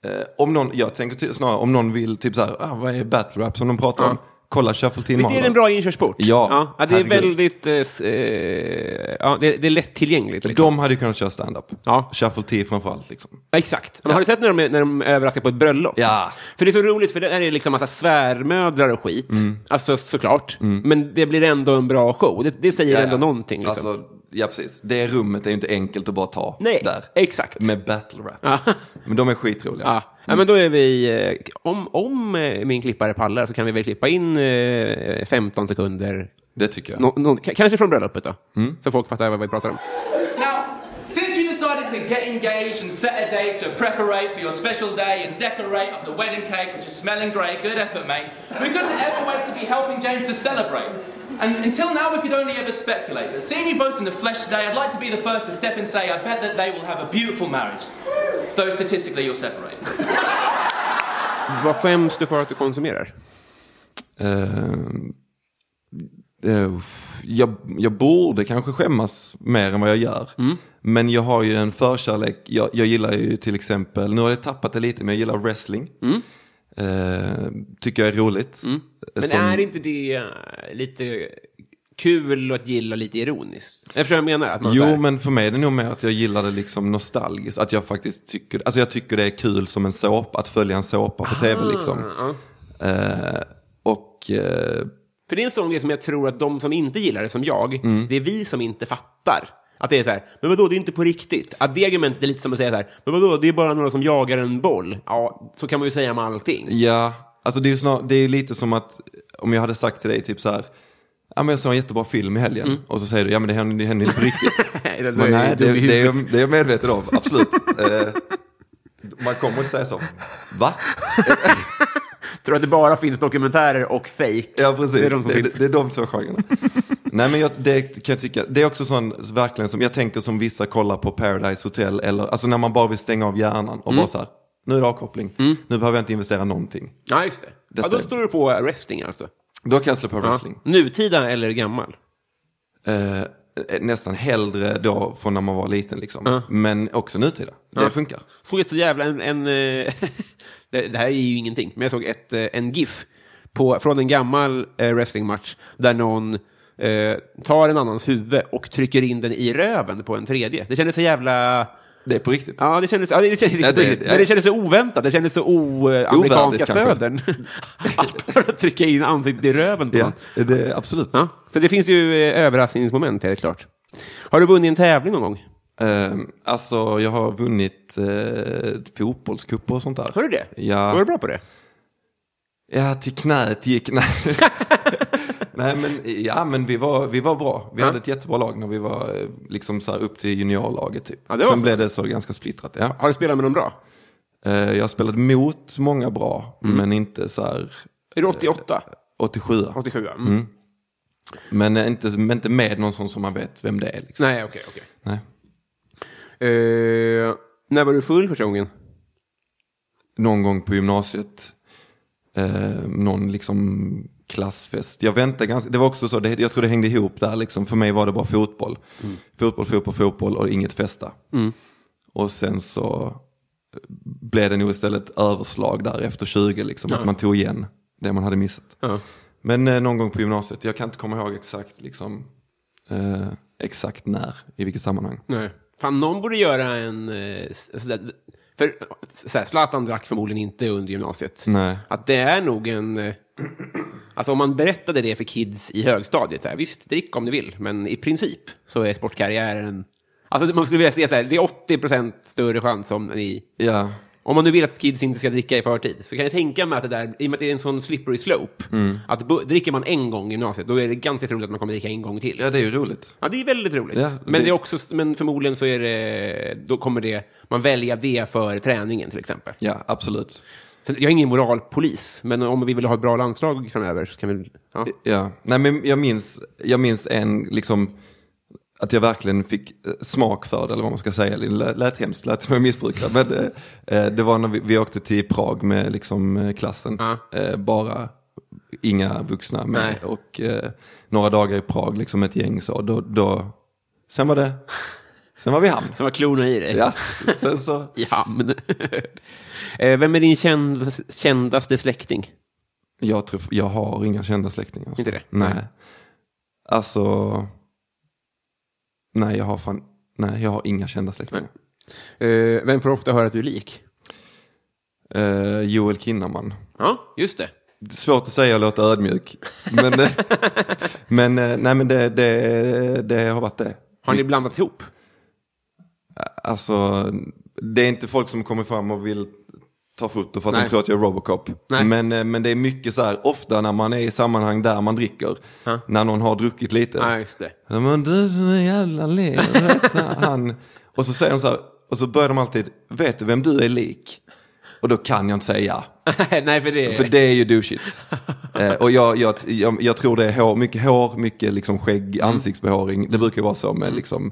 eh, om någon, jag tänker till, snarare om någon vill typ så här, ah, vad är battle rap som de pratar om? Kolla Shuffle Team Visst är det en bra inkörsport? Ja, ja, ja det är herregud. väldigt... Eh, s- eh, ja, det, det är lättillgängligt. Liksom. De hade ju kunnat köra stand-up. Ja. Shuffle Team framförallt liksom. Ja, Exakt. Men Har du sett när de, är- när de överraskar på ett bröllop? Ja. För det är så roligt, för där är det liksom massa svärmödrar och skit. Mm. Alltså såklart. Men det blir ändå en bra show. Det, det säger Ja, ja. ändå någonting. Liksom. Alltså, ja precis. Det rummet är ju inte enkelt att bara ta Nej, där. exakt. Med Mm. battle rap. Ja. [LAUGHS] Men de är skitroliga. Ja. ja, men då är vi... eh, Om, om eh, min klippare pallar så kan vi väl klippa in eh, 15 sekunder. Det tycker jag. Nå- nå- k- kanske från bröllopet då. Mm. Så folk fattar vad vi pratar om. Now, since you decided to get engaged and set a date to preparate for your special day and decorate up the wedding cake, which is smelling great, good effort, mate, we couldn't ever wait to be helping James to celebrate. And until now, we could only ever speculate. But seeing you both in the flesh today, I'd like to be the first to step in and say, I bet that they will have a beautiful marriage. Though statistically, you'll separate. Vad skäms du för att du konsumerar? Ehm, eh, jag, jag borde kanske skämmas mer än vad jag gör. Mm. Men jag har ju en förkärlek. Jag, jag gillar ju till exempel, nu har jag tappat det lite, men jag gillar wrestling. Ehm, tycker jag är roligt. Mm. Men Som- är inte det eh, lite kul att gilla lite ironiskt? Jag förstår vad jag menar. Att man så här- Jo, men för mig är det nog mer att jag gillar det liksom nostalgiskt. Att jag faktiskt tycker, alltså jag tycker det är kul som en såpa, att följa en såpa på tv liksom. Ehm, och eh, För det är en sån grej som jag tror att de som inte gillar det som jag, Mm. det är vi som inte fattar. Att det är så här, men vadå, det är inte på riktigt. Att det argumentet är lite som att säga så här, men vadå, det är bara några som jagar en boll. Ja, så kan man ju säga om allting. Ja, alltså det är ju snar, det är ju lite som att om jag hade sagt till dig typ så här, ja men jag såg en jättebra film i helgen och så säger du, ja men det händer, det händer inte på riktigt. [LAUGHS] Nej, [LAUGHS] det, Men Mm. nej, det, det, är jag, ju... det är jag medveten om, absolut. Eh, man kommer inte säga så, [LAUGHS] va? tror att det bara finns dokumentärer och fake. Ja precis, Det är de som det, finns. det är de två [LAUGHS] genrerna. nej men jag, det kan jag tycka, det är också sån, verkligen som, jag tänker som vissa kollar på Paradise Hotel eller, alltså när man bara vill stänga av hjärnan Mm. och bara så här, nu är det avkoppling, nu behöver jag inte investera någonting. Ja, just det. Ja, Detta då är- står du på wrestling alltså. Då kan jag slå på Ja. wrestling. Nutida eller gammal? Eh, nästan hellre då från när man var liten liksom. Men också nutida. Det funkar. Såg ett så jävla... En, en, eh, [LAUGHS] det, det här är ju ingenting, men jag såg ett, eh, en GIF på, från en gammal eh, wrestlingmatch där någon eh, tar en annans huvud och trycker in den i röven på en tredje. Det kändes så jävla... Det är på riktigt. Ja, det kändes, ja, det kändes, Ja, det- det, men det kändes så oväntat. Det kändes så o-amerikanska kanske. södern. [LAUGHS] Att bara trycka in ansiktet i röven på Ja, någon. det är absolut. Ja, så det finns ju eh, överraskningsmoment, helt klart. Har du vunnit en tävling någon gång? Eh, alltså jag har vunnit eh, fotbollscuper och sånt där. Har du det? Ja. Var du bra på det? Ja, till knät gick... [LAUGHS] Nej. Nej men, ja, men vi var, vi var bra. Vi hade ett jättebra lag när vi var eh, liksom så här upp till juniorlaget typ. Ja, det var Sen så. blev det så ganska splittrat. Ja. Har du spelat med någon bra? Eh, jag har spelat mot många bra, Mm. men inte så här eh, Är du 88? 87. 87, ja. Mm. Men eh, inte, men inte med någon sån som man vet vem det är. Liksom. Nej, okej. okej. Nej. Eh, när var du full första gången? Någon gång på gymnasiet, eh, någon liksom klassfest. Jag väntade ganska, det var också så, det, jag tror det hängde ihop där liksom. För mig var det bara fotboll. Fotboll, fotboll, fotboll och inget festa. Och sen så blev det nog istället överslag där efter 20, liksom, att man tog igen det man hade missat. Ja. Men eh, någon gång på gymnasiet, jag kan inte komma ihåg exakt, liksom, eh, exakt när, i vilket sammanhang. Nej. Fan, någon borde göra en... eh, s- sådär, för såhär, Zlatan drack förmodligen inte under gymnasiet. Nej. Att det är nog en... eh, Alltså om man berättade det för kids i högstadiet, såhär, visst, drick om du vill, men i princip så är sportkarriären... Alltså man skulle vilja se så här, det är 80 procent större chans om ni... Ja, Om man nu vill att kids inte ska dricka i förtid, så kan jag tänka mig att det där, i och med att det är en sån slippery slope, Mm. att bu- dricker man en gång i gymnasiet, då är det ganska troligt att man kommer dricka en gång till. ja det är ju roligt. Ja, det är väldigt roligt. Ja, men, det- det... är också, men förmodligen så är det, då kommer det, man välja det för träningen till exempel. Ja, absolut. Sen, jag är ingen moralpolis, men om vi vill ha ett bra landslag framöver så kan vi... Ja. Ja, nej men jag minns, jag minns en liksom att jag verkligen fick eh, smak för det, eller vad man ska säga. Det lä- lät hemskt, lät som en missbrukare. Men eh, eh, det var när vi, vi åkte till Prag med liksom, eh, klassen. Ja. Eh, bara inga vuxna med. Nej. Och eh, några dagar i Prag, liksom ett gäng så. Då, då, sen var det... Sen var vi i [LAUGHS] hamn. Som var klorna i dig? Ja, sen så... I [LAUGHS] hamn. Eh, Vem är din kändas- kändaste släkting? Jag, tror, jag har inga kända släktingar. Alltså. Inte det? Nej. Alltså... Nej, jag har fan... Nej, jag har inga kända släktingar. Eh, Vem får ofta höra att du är lik? Eh, Joel Kinnaman. Ja, [LAUGHS] just det. Det är svårt att säga och låta ödmjuk. Men, eh, [LAUGHS] men, eh, nej, men det, det, det har varit det. Har ni blandat ihop? Alltså, det är inte folk som kommer fram och vill ta foto för att Nej. de tror att jag är Robocop. Nej. Men, eh, men det är mycket så här, ofta när man är i sammanhang där man dricker, Ja. när någon har druckit lite. Ja, just det. Ja, Men du den jävla [LAUGHS] lever, han. Och så säger de så här, och så börjar de alltid, vet du vem du är lik? Och då kan jag inte säga ja. Nej, för det... För det är ju douchigt. Eh, och jag, jag, jag, jag tror det är hår, mycket hår, mycket liksom skägg, Mm. ansiktsbehåring. Det brukar ju vara så med liksom,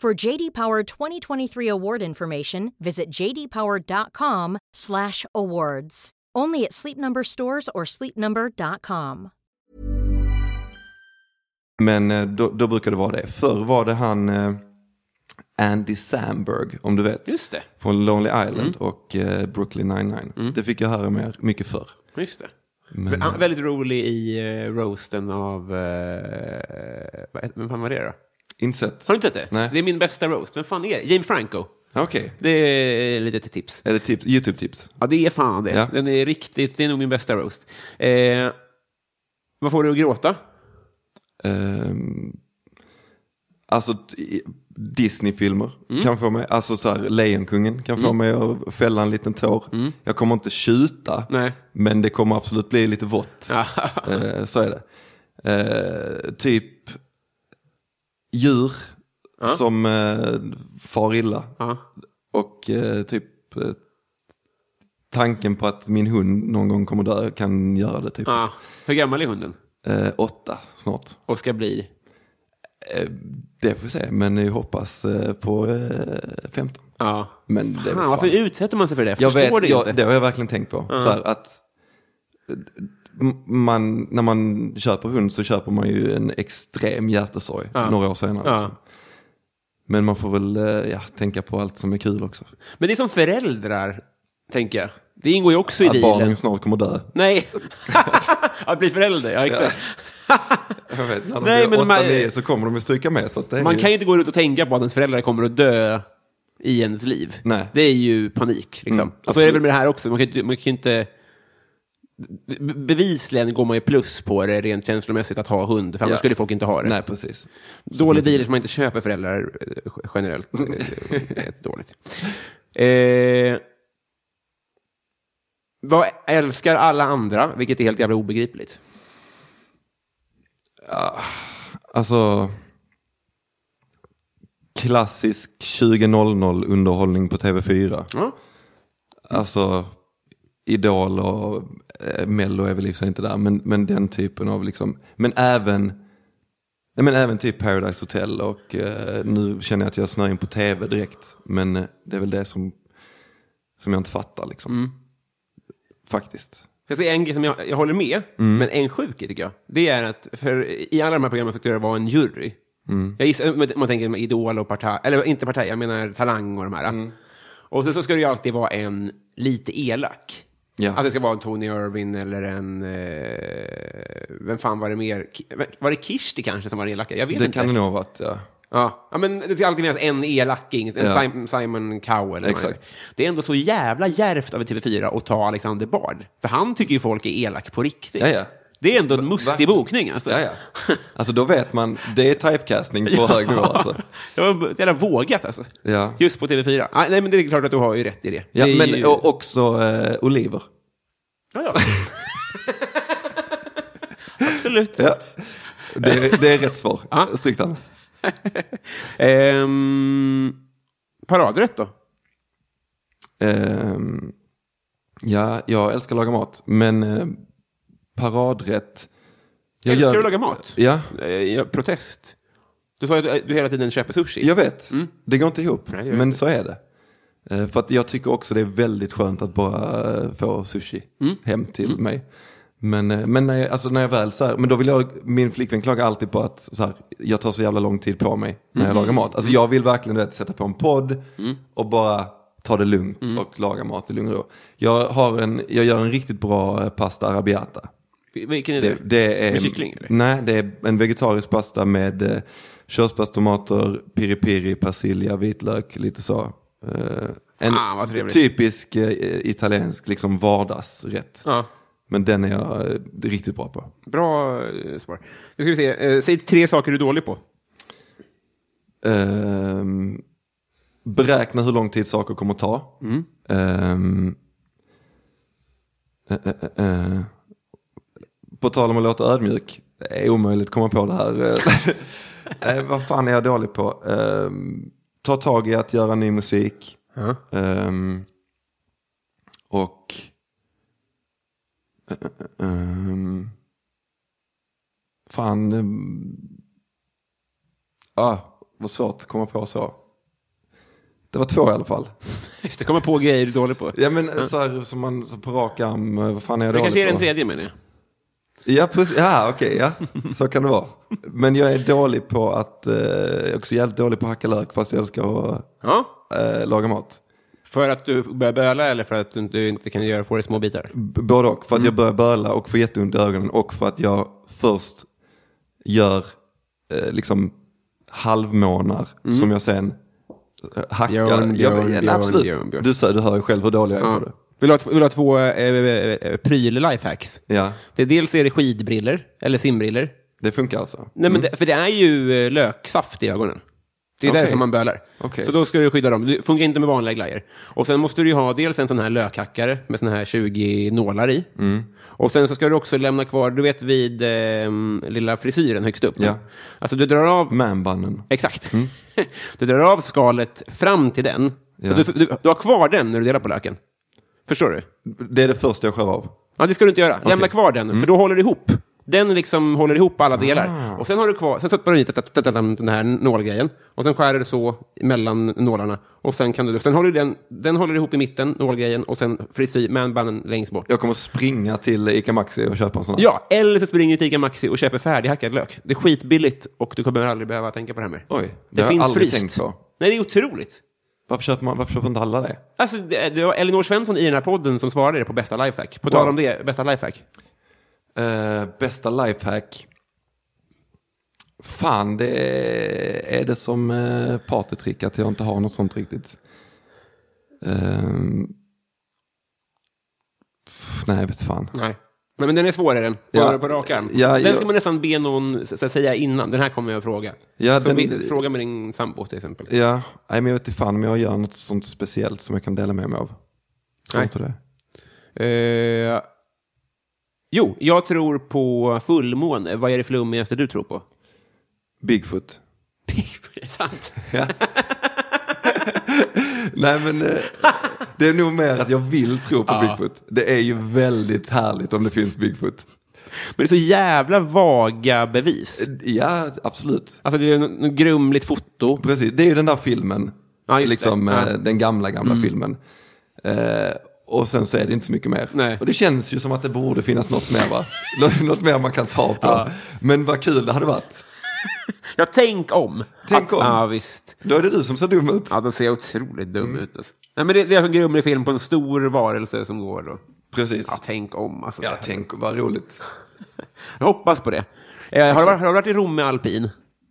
For JD Power 2023 award information, visit jdpower.com/awards. Only at Sleep Number stores or sleepnumber.com. men eh, då, då brukar det vara det. Förr var det han eh, Andy Samberg, om du vet. Just Mm. det. Från Lonely Island och eh, Brooklyn 99. Det fick jag höra mer, mycket förr. Just det. Men, Mm. Han eh, var väldigt rolig i eh, roasten av... eh, vad- Vem fan var det då? Insett. Har du inte sett det? Nej. Det är min bästa roast. Vem fan är det? James Franco. Okej. Det är lite till tips. Är det tips? YouTube-tips? Ja, det är fan det. Ja. Den är riktigt... Det är nog min bästa roast. Eh, vad får du att gråta? Ehm, alltså t- i- Disney-filmer Mm. kan få mig, alltså så här Lejonkungen kan få mig att fälla en liten tår. Jag kommer inte tjuta, Mm. Nej. men det kommer absolut bli lite vått. [LAUGHS] Eh, så är det. Eh, typ djur som eh, far illa. Ja. Och eh, typ eh, tanken på att min hund någon gång kommer dö kan göra det typ. Ja. Hur gammal är hunden? Eh, åtta snart. Och ska bli? Det får vi se, men jag hoppas eh, på eh, 15. Ja. Men det vet Fan, varför fan. utsätter man sig för det? jag Jag Förstår vet, det jag, inte. det har jag verkligen tänkt på. Så här, att eh, m- man, när man köper hund så köper man ju en extrem hjärtesorg några år senare. Ja. Liksom. Men man får väl eh, ja, tänka på allt som är kul också. Men det är som föräldrar, tänker jag. Det ingår ju också i Att barnen dealen. snart kommer [LAUGHS] dö. Nej. att bli förälder, ja exakt. Jag vet, när de Nej, blir men man- 8-9 så kommer de ju stryka med. Så att det är Man ju... kan ju inte gå ut och tänka på att ens föräldrar kommer att dö i ens liv. Nej. Det är ju panik. Liksom. Mm, och så är det väl absolut. med det här också. Man kan, ju- man kan ju inte... be- Bevisligen går man ju plus på det rent känslomässigt att ha hund, för annars Ja. skulle folk inte ha det. Nej, precis. Dålig deal som man inte köper föräldrar eh, g- generellt. [LAUGHS] Det är ett dåligt. Eh, vad älskar alla andra, vilket är helt jävla obegripligt. Alltså klassisk 20.00 underhållning på TV4. Ja. Alltså Idol och eh, Mello är väl i och för sig inte där, men, men den typen av liksom, men även Nej, men även typ Paradise Hotel och eh, nu känner jag att jag snör in på tv direkt. Men eh, det är väl det som, som jag inte fattar liksom. Faktiskt. Så Jag säga en grej som jag, jag håller med, men en sjuk grej tycker jag. Det är att för i alla de här programmen fick det vara en jury. Jag gissar, om man tänker med Idol och Partaj, eller inte Partaj, jag menar Talang och de här. Och sen så ska det ju alltid vara en lite elak. Ja. Alltså, Att det ska vara en Tony Irving eller en... Eh, vem fan var det mer? Ki- Var det Kishti kanske som var den elaka? Jag vet Det inte. kan det nog ha varit, ja. Ja. ja, men det ska alltid finnas en elacking, en Ja. Sim- Simon Cowell. Exakt. Det är ändå så jävla djärvt av TV4 att ta Alexander Bard. För han tycker ju folk är elak på riktigt. Ja, ja. Det är ändå en mustig verkligen. bokning alltså. Ja, ja. Alltså då vet man, det är typecasting på hög nivå alltså. [LAUGHS] Det var så jävla vågat alltså. Ja. Just på TV4. Ah, nej, men det är klart att du har ju rätt i det. Ja, det är men ju... och också eh, Oliver. Ja, [LAUGHS] ja. Absolut. Ja. Det, det är rätt svar, strikt han. Ehm, paradrätt då? Ehm, ja, jag älskar att laga mat, men eh, paradrätt. Jag Älskar gör- du att laga mat? Ja, Eh, ja, protest. Du sa ju att du hela tiden köper sushi. jag vet. Det går inte ihop, Mm. Nej, det gör men inte. så är det. Eh, För att jag tycker också det är väldigt skönt att bara eh, få sushi Mm. hem till mig. Men, eh, men när, jag, alltså när jag väl så här, men då vill jag, min flickvän klagar alltid på att så här, jag tar så jävla lång tid på mig när Mm-hmm. jag lagar mat. Alltså jag vill verkligen du vet, sätta på en podd Mm. och bara ta det lugnt och laga mat i lugn och ro. Jag, har en, jag gör en riktigt bra eh, pasta arabiata. Vilken är det? Det, det är, Med kyckling? Eller? Nej, det är en vegetarisk pasta med eh, körsbärstomater, piri-piri, persilja, vitlök, lite så. Eh, en Ah, vad trevligt. typisk eh, italiensk liksom vardagsrätt. Ja. Men den är jag eh, riktigt bra på. Bra eh, svar. Nu ska vi se. Eh, Säg tre saker du är dålig på. Ehm, beräkna hur lång tid saker kommer att ta. Ehm, eh, eh, eh, eh. På tal om att låta ödmjuk. Det är omöjligt att komma på det här. [LAUGHS] Eh, vad fan är jag dålig på? Ehm, ta tag i att göra ny musik. Ehm, och... eh, eh, ehm. fan... ehm, Ah, vad svårt att komma på så. Det var två i alla fall. Just det, kommer på grejer du är dålig på. Ja men så här som man så på rak arm, eh, vad fan är jag det dålig kanske är på? den tredje menar jag. Ja, precis. Ja, okej, ja. Så kan det vara. Men jag är dålig på att, eh, jag är också jävligt dålig på att hacka lök fast jag älskar att Ja. eh, laga mat. För att du börjar böla eller för att du inte- du inte kan göra, få det i små bitar? B- Både och, för att Mm. jag börjar böla och får jätteont i ögonen och för att jag först gör eh, liksom halvmånar som jag sen eh, hackar. Mm. Björn, Jag- Björn, ja, Björn, absolut. Björn, Björn. Du, sa- du hör ju själv hur dålig jag är på det. Vill du ha, t- vill du ha två eh, eh, eh, pryl-lifehacks? Ja, Det är dels är det skidbriller eller simbriller. det funkar alltså. Nej, men det, för det är ju eh, löksaft i ögonen. Det är Okej. därför man bölar. Okej. Så då ska du skydda dem. Det funkar inte med vanliga glajjor. Och sen måste du ju ha dels en sån här lökhackare med sån här 20 nålar i. Mm. Och sen så ska du också lämna kvar, du vet vid eh, lilla frisyren högst upp. Ja. Mm. Alltså du drar av Manbunnen. Exakt. [LAUGHS] Du drar av skalet fram till den. Ja. Du, du, du har kvar den när du delar på löken. Förstår du? Det är det första jag skär av. Ja, det ska du inte göra. Lämna kvar den, Mm. för då håller det ihop. Den liksom håller ihop alla Ah. delar. Och sen har du kvar, sen sätter du i tat- tat- tat- den här nålgrejen. Och sen skär du så mellan nålarna. Och sen kan du, sen håller du den, den håller ihop i mitten, nålgrejen. Och sen frisyr, manbanden längst bort. Jag kommer springa till Ica Maxi och köpa en sån här. Ja, eller så springer du till Ica Maxi och köper färdighackad lök. Det är skitbilligt och du kommer aldrig behöva tänka på det här mer. Oj, det har jag aldrig tänkt på. Nej, det är otroligt. Varför, köper man, varför köper inte alla det? Alltså, det, det var Elinor Svensson i den här podden som svarade det på bästa lifehack. På tal om det, bästa lifehack. Eh, bästa lifehack? Fan, det är, är det som uh, partytrick att jag inte har något sånt riktigt. Ehm, pff, nej, jag vet fan. Nej. Nej, men den är svårare än på, Ja. på rak arm. Ja, den ja. ska man nästan be någon s- s- säga innan. Den här kommer jag att fråga. Ja, Så den- be- fråga med din sambo till exempel. Ja, nej, men jag vet inte fan om jag gör något sånt speciellt som jag kan dela med mig av. Tror Nej. inte det. Eh, jo, jag tror på fullmåne. Vad är det flummigaste du tror på? Bigfoot. [LAUGHS] det är sant. Nej men eh, det är nog mer att jag vill tro på Bigfoot. Det är ju väldigt härligt om det finns Bigfoot. Men det är så jävla vaga bevis. Ja, absolut. Alltså, det är något något grumligt foto. Precis, det är ju den där filmen. Ja, Mm. just det. liksom, eh, Ja. Den gamla, gamla filmen. Eh, Och sen så är det inte så mycket mer. Nej. Och det känns ju som att det borde finnas något mer va? [LAUGHS] Nå- något mer man kan ta på. Men vad kul det hade varit. Ja, tänk om. Tänk att, om. Ja, visst. Då är det du som ser dum ut. Ja, de ser otroligt dum ut. Alltså. Nej, men det, det är en grumlig film på en stor varelse som går. Då. Precis. Ja, tänk om. Alltså. Ja, tänk vad roligt. Jag hoppas på det. Eh, har, du, varit- har du varit i Rom med alpin?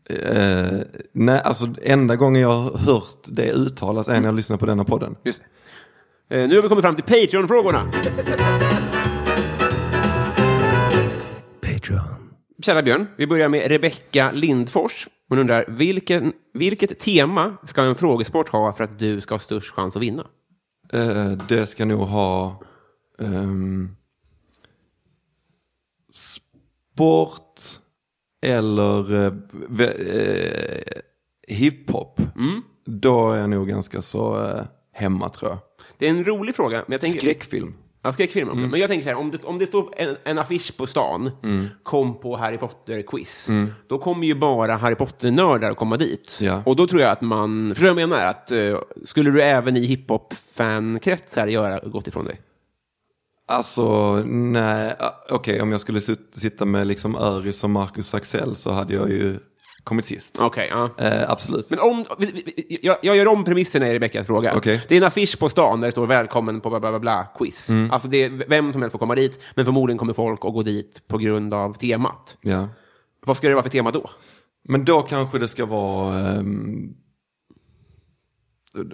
Eh, nej, alltså enda gången jag har hört det uttalas är när jag lyssnar på denna podden. Just det. Eh, nu har vi kommit fram till Patreon-frågorna. Patreon. Kära Björn, vi börjar med Rebecka Lindfors. Hon undrar, vilken, vilket tema ska en frågesport ha för att du ska ha störst chans att vinna? Eh, det ska nog ha... ehm, sport eller uh, hiphop. Mm. Då är jag nog ganska så eh, hemma tror jag. Det är en rolig fråga. Men jag tänker, Skräckfilm. Mm. Ja, skräckfilm också. Men jag tänker så här, om det, om det står en, en affisch på stan, kom på Harry Potter-quiz, då kommer ju bara Harry Potter-nördar komma dit. Mm. Ja. Och då tror jag att man, förstår du vad jag menar? Att, eh, skulle du även i hiphop-fankretsar göra gott ifrån dig? Alltså, nej. ah, Okej, om jag skulle sit- sitta med liksom Öris och Marcus Axel så hade jag ju kommit sist. Okej, ja. Eh, absolut. Men om, vi- vi- vi- jag, jag gör om premisserna i Rebeckas fråga. Okej. Det är en affisch på stan där det står välkommen på bla bla bla, bla quiz. Mm. Alltså det är vem som helst får komma dit, men förmodligen kommer folk att gå dit på grund av temat. ja. Vad ska det vara för tema då? Men då kanske det ska vara... ehm,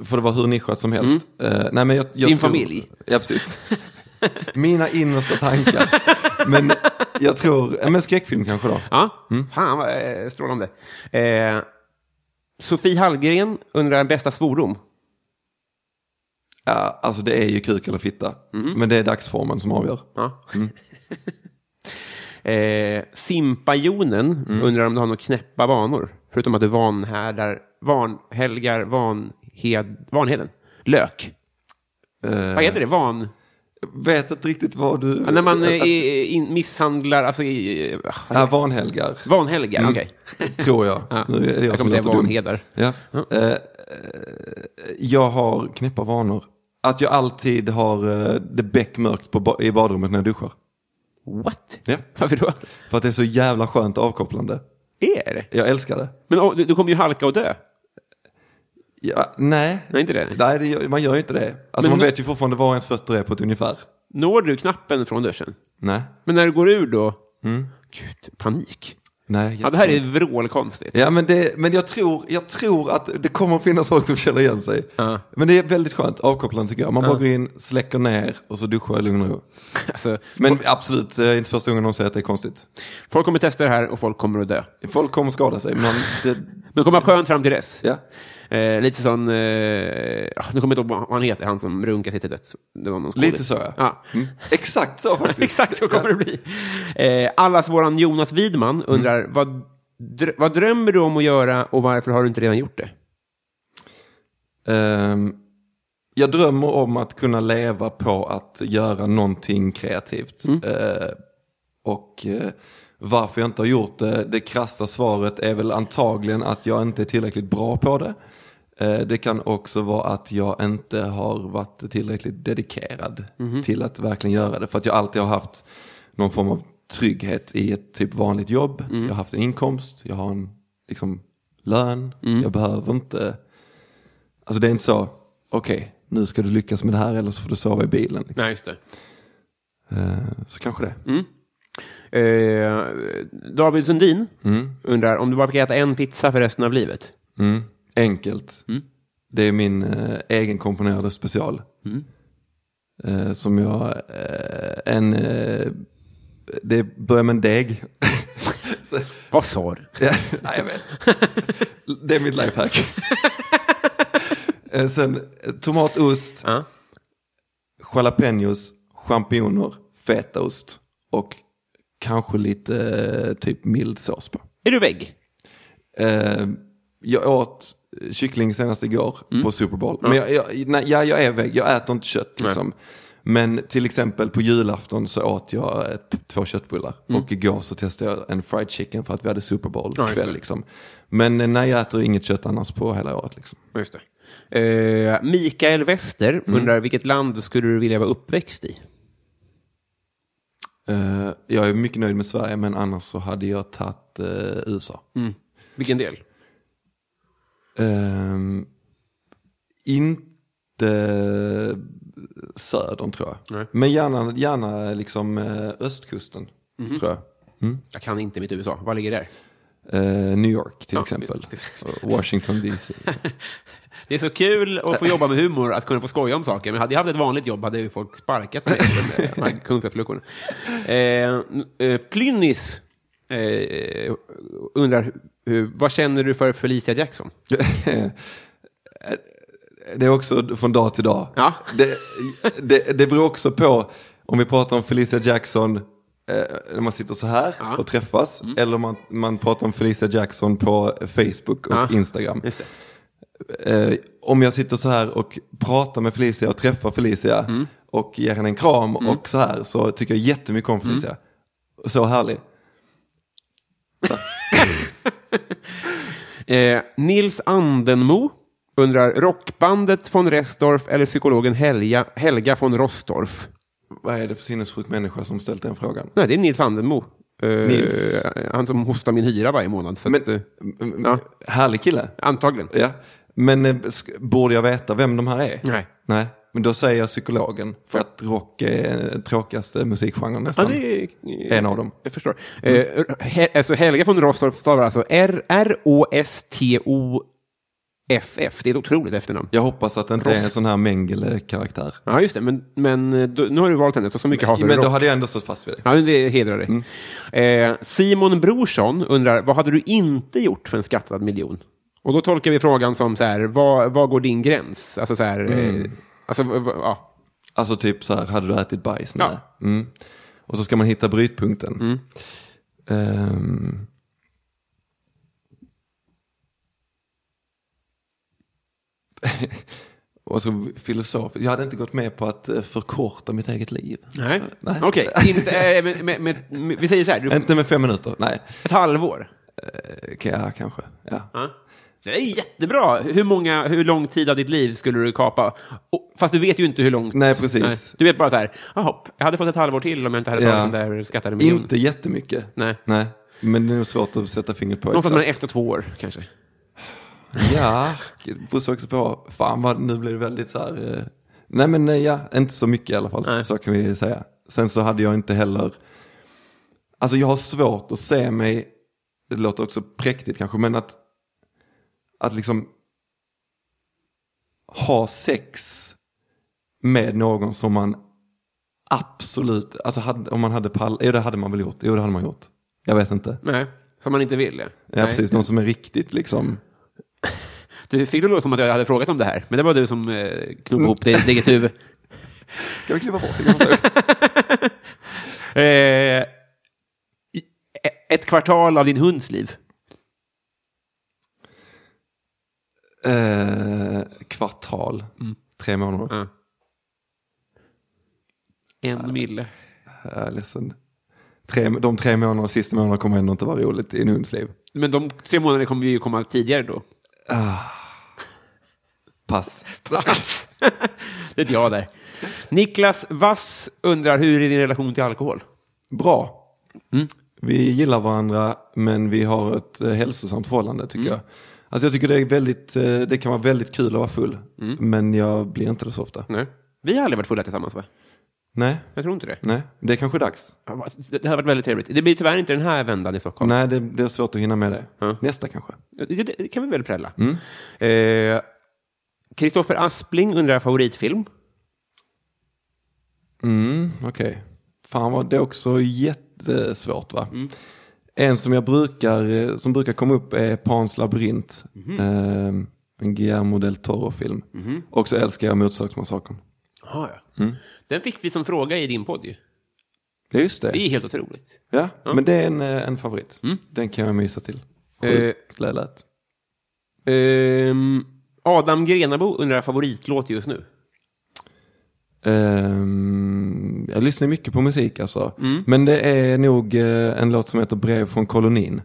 får det vara hur nischat som helst. Eh, nej, men jag, jag Mm. Din tror, familj. Ja, precis. Mina innersta tankar. men jag tror... eh, Men skräckfilm kanske då. Ja, fan vad eh, strålande. Eh, Sofie Hallgren undrar bästa svordom. Ja, alltså det är ju kuk eller fitta. Men det är dagsformen som avgör. Mm. Ja. eh, Simpajonen Mm. undrar om du har några knäppa vanor, förutom att du vanhärdar, vanhelgar vanhed, vanheden. Lök. Eh, Vad heter det? Van... Vet inte riktigt vad du... Ja, när man eh, i- in, misshandlar, alltså i... eh, Ja, vanhelgar. Vanhelgar, okej. Mm. [LAUGHS] Tror jag. Ja. Nu är det Jag kommer som säga låter dum. vanheder. Ja. Eh, eh, jag har knäppa vanor. Att jag alltid har eh, det beckmörkt på ba- i badrummet när jag duschar. What? Ja. Varför då? För att det är så jävla skönt avkopplande. Er? Jag älskar det. Men oh, du, du kommer ju halka och dö. Ja, nej. Nej, inte det. Nej, det gör, man gör ju inte det. Men Alltså man nu- vet ju fortfarande var ens fötter är på ett ungefär. Når du knappen från duschen? Nej. Men när du går ur då? Mm. Gud, panik. Nej. Ja, det här är vrålkonstigt. Ja, men, det, men jag, tror, jag tror att det kommer att finnas folk som känner igen sig. Ja. Men det är väldigt skönt, avkopplande tycker jag. Man bara går in, släcker ner och så duschar jag i lugn och ro. [LAUGHS] Alltså, Men absolut, det är inte första gången någon säger att det är konstigt. folk kommer testa det här och folk kommer att dö. Folk kommer skada sig, men det, Men kommer vara skönt fram till dess. ja. Eh, lite sån, eh, ah, nu kommer jag inte ihåg vad han heter, han som runkar sig till döds. Det var någon skådis. lite så ja. ja. [LAUGHS] Mm. Exakt så faktiskt. [LAUGHS] Exakt så kommer det bli. Eh, allas våran Jonas Widman undrar, Mm. vad, drö- vad drömmer du om att göra och varför har du inte redan gjort det? Ehm, jag drömmer om att kunna leva på att göra någonting kreativt. Eh, och eh, varför jag inte har gjort det, det krassa svaret är väl antagligen att jag inte är tillräckligt bra på det. Eh, det kan också vara att jag inte har varit tillräckligt dedikerad till att verkligen göra det. För att jag alltid har haft någon form av trygghet i ett typ vanligt jobb. Jag har haft en inkomst, jag har en liksom, lön, jag behöver inte Alltså det är inte så, okej, nu ska du lyckas med det här eller så får du sova i bilen. Liksom. Nej, just det. Eh, så kanske det. Eh, David Sundin undrar om du bara fick äta en pizza för resten av livet. Mm. Enkelt. Mm. Det är min eh, egenkomponerade special. Mm. Eh, som jag, eh, en, eh, det börjar med [LAUGHS] en deg. så, Vad sa du? [LAUGHS] ja, nej, jag vet. Det är mitt lifehack. eh, sen eh, tomatost, Ja. jalapenos, champinjoner, fetaost och kanske lite eh, typ mild sås på. Är du vägg? Eh, jag åt kyckling senast igår Mm. på Super Bowl. Men jag, jag, nej, ja, jag är väg, jag äter inte kött liksom. Men till exempel på julafton så åt jag ett, två köttbullar. Och igår så testade jag en fried chicken för att vi hade Super Bowl Mm. Ja, just kväll. det. Liksom. Men eh, nej, jag äter inget kött annars på hela året. Liksom. Just det. Eh, Mikael Wester Mm. undrar vilket land skulle du vilja vara uppväxt i? Eh, jag är mycket nöjd med Sverige, men annars så hade jag tagit eh, USA. Vilken del? Ehm, inte södern tror jag. Nej. Men gärna, gärna liksom eh, östkusten tror jag. Mhm. Mm. Jag kan inte mitt USA. Var ligger det? Eh, New York till Ja, exempel. visst. Och Washington DC. Det är så kul att få jobba med humor, att kunna få skoja om saker. Men hade jag haft ett vanligt jobb hade ju folk [LAUGHS] sparkat mig. med de här Kungsträdsluckorna. Eh, eh, Plynnis eh, undrar, hur, vad känner du för Felicia Jackson? [LAUGHS] det är också från dag till dag. Ja. Det, det, det beror också på om vi pratar om Felicia Jackson eh, när man sitter så här Ja. Mm. och träffas. Eller om man, man pratar om Felicia Jackson på Facebook och Ja. Instagram. Just det. eh, om jag sitter så här och pratar med Felicia och träffar Felicia Mm. och ger henne en kram och så här så tycker jag jättemycket Mm. om Felicia. Så härlig. Eh, Nils Andenmo undrar, rockbandet von Restorff eller psykologen Helga, Helga von Rostorff? Vad är det för sinnessjuk människa som ställt den frågan? Nej, det är Nils Andenmo. Eh, Nils. Han som hostar min hyra varje månad. Så Men, att, eh, m- ja. Härlig kille. antagligen. Ja. Men eh, sk- borde jag veta vem de här är? Nej. Nej. Men då säger jag psykologen. För att rock är den tråkigaste musikgenren Ja, nästan. det är... En av dem. Jag förstår. Eh, he, alltså Helga von Rostorff stavar alltså R- R-O-S-T-O-F-F. Det är ett otroligt efternamn. Jag hoppas att det inte är en Rost. sån här Mengele-karaktär. Ja, just det. Men, men eh, då, nu har du valt henne, så så mycket hatar du Men då rock. hade jag ändå stått fast vid det. Ja, men det hedrar Mm. dig. Eh, Simon Brorsson undrar, vad hade du inte gjort för en skattad miljon? Och då tolkar vi frågan som så här, vad, vad går din gräns? Alltså så här, Mm. eh, alltså, v- v- ja. Alltså typ så här, hade du ätit bajs? Ja. Mm. Nej. Mm. Och så ska man hitta brytpunkten. Ehm. [LAUGHS] Och så filosof. Jag hade inte gått med på att eh, förkorta mitt eget liv. Nej. Nej. Okej, inte, eh, men- men- men- men vi säger så här, du, Inte med fem minuter, nej. ett halvår. Eh, Ja, kanske. Ja. Ja. Det är jättebra. Hur, många, hur lång tid av ditt liv skulle du kapa? Och, fast du vet ju inte hur långt. Nej, precis. Du vet bara så här, ah, hopp, jag hade fått ett halvår till om jag inte hade Ja. tagit den där skattade miljonen. Inte jättemycket. Nej. nej. Men det är nog svårt att sätta fingret på. exakt. Någonstans mellan ett och två år kanske. Ja, Bosse också på. Fan vad nu blir det väldigt så här. eh, Nej men eh, ja, inte så mycket i alla fall. Nej. Så kan vi säga. Sen så hade jag inte heller. Alltså jag har svårt att se mig. Det låter också präktigt kanske men att. Att liksom. Ha sex. Med någon som man absolut. Alltså hade, om man hade pall. Jo det hade man väl gjort. Jo det hade man gjort. Jag vet inte. Nej, som man inte vill. Ja, Ja, precis, någon som är riktigt liksom. Du fick det låta som att jag hade frågat om det här, men det var du som eh, knoppade ihop det i ditt eget [LAUGHS] huvud. Kan vi kliva bort? Kan vi kliva bort? Eh, i- e- ett kvartal av din hunds liv. Eh, kvartal. Tre månader. Mm. Ja. En mille. Jag är ledsen. Tre, de tre månaderna, sista månaderna kommer ändå inte vara roligt i en hunds liv. Men de tre månaderna kommer ju komma tidigare då. Pass. plats. [LAUGHS] det är ett ja där. Niklas Vass undrar hur är din relation till alkohol? Bra. Mm. Vi gillar varandra men vi har ett eh, hälsosamt förhållande Mm. tycker jag. Alltså jag tycker det, är väldigt, eh, det kan vara väldigt kul att vara full. Men jag blir inte det så ofta. Mm. Nej. Vi har aldrig varit fulla tillsammans va? Nej, Jag tror inte det. nej. Det är kanske dags. Det hade varit väldigt trevligt. Det blir tyvärr inte den här vändan i Stockholm. Nej, det, det är svårt att hinna med det. Nästa kanske. Det, det- det kan vi väl prälla. Eh, Kristoffer Aspling undrar favoritfilm. Mm, okej. Fan vad det är också jättesvårt va? En som jag brukar, eh, som brukar komma upp är Pans labyrint. Eh, en Guillermo del Toro-film. Och så älskar jag Motorsågsmassakern. Aha, Mm. Den fick vi som fråga i din podd ju. Ja, just det. Det är helt otroligt. Ja, men det är en, eh, en favorit. Den kan jag mysa till. Eh, Sjukt lätt. Ehm, Adam Grenabo undrar favoritlåt just nu. Eh, jag lyssnar mycket på musik alltså. Men det är nog eh, en låt som heter Brev från kolonin.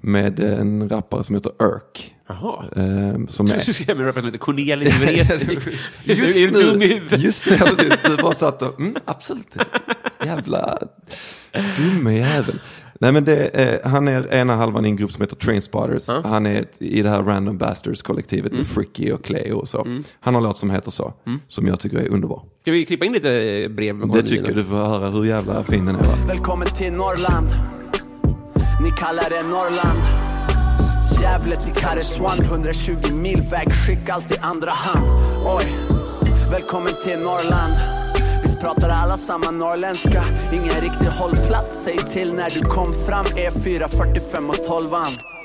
Med en rappare som heter Irk. Jaha. Eh, som Jag trodde [LAUGHS] du skulle säga med en rappare som heter Cornelis [LAUGHS] Vreeswijk. Just Är du dum i nu, huvudet? just nu, ja, precis. Du bara satt och, mm, absolut. Jävla dumme jävel. Nej men det, eh, han är ena halvan i en grupp som heter Trainspotters. Han är ett, i det här Random Bastards-kollektivet Mm. med Fricky och Cleo och så. Han har en låt som heter så, som jag tycker är underbar. Ska vi klippa in lite eh, brev? med Det Cornelis? tycker jag, du får höra hur jävla fin den är. Va? Välkommen till Norrland Ni kallar det Norrland Gävle till Karesuando 120 mil väg, skick allt i andra hand Oj, välkommen till Norrland Visst pratar alla samma norrländska Ingen riktig hållplats, säg till när du kom fram E4, 45 och 12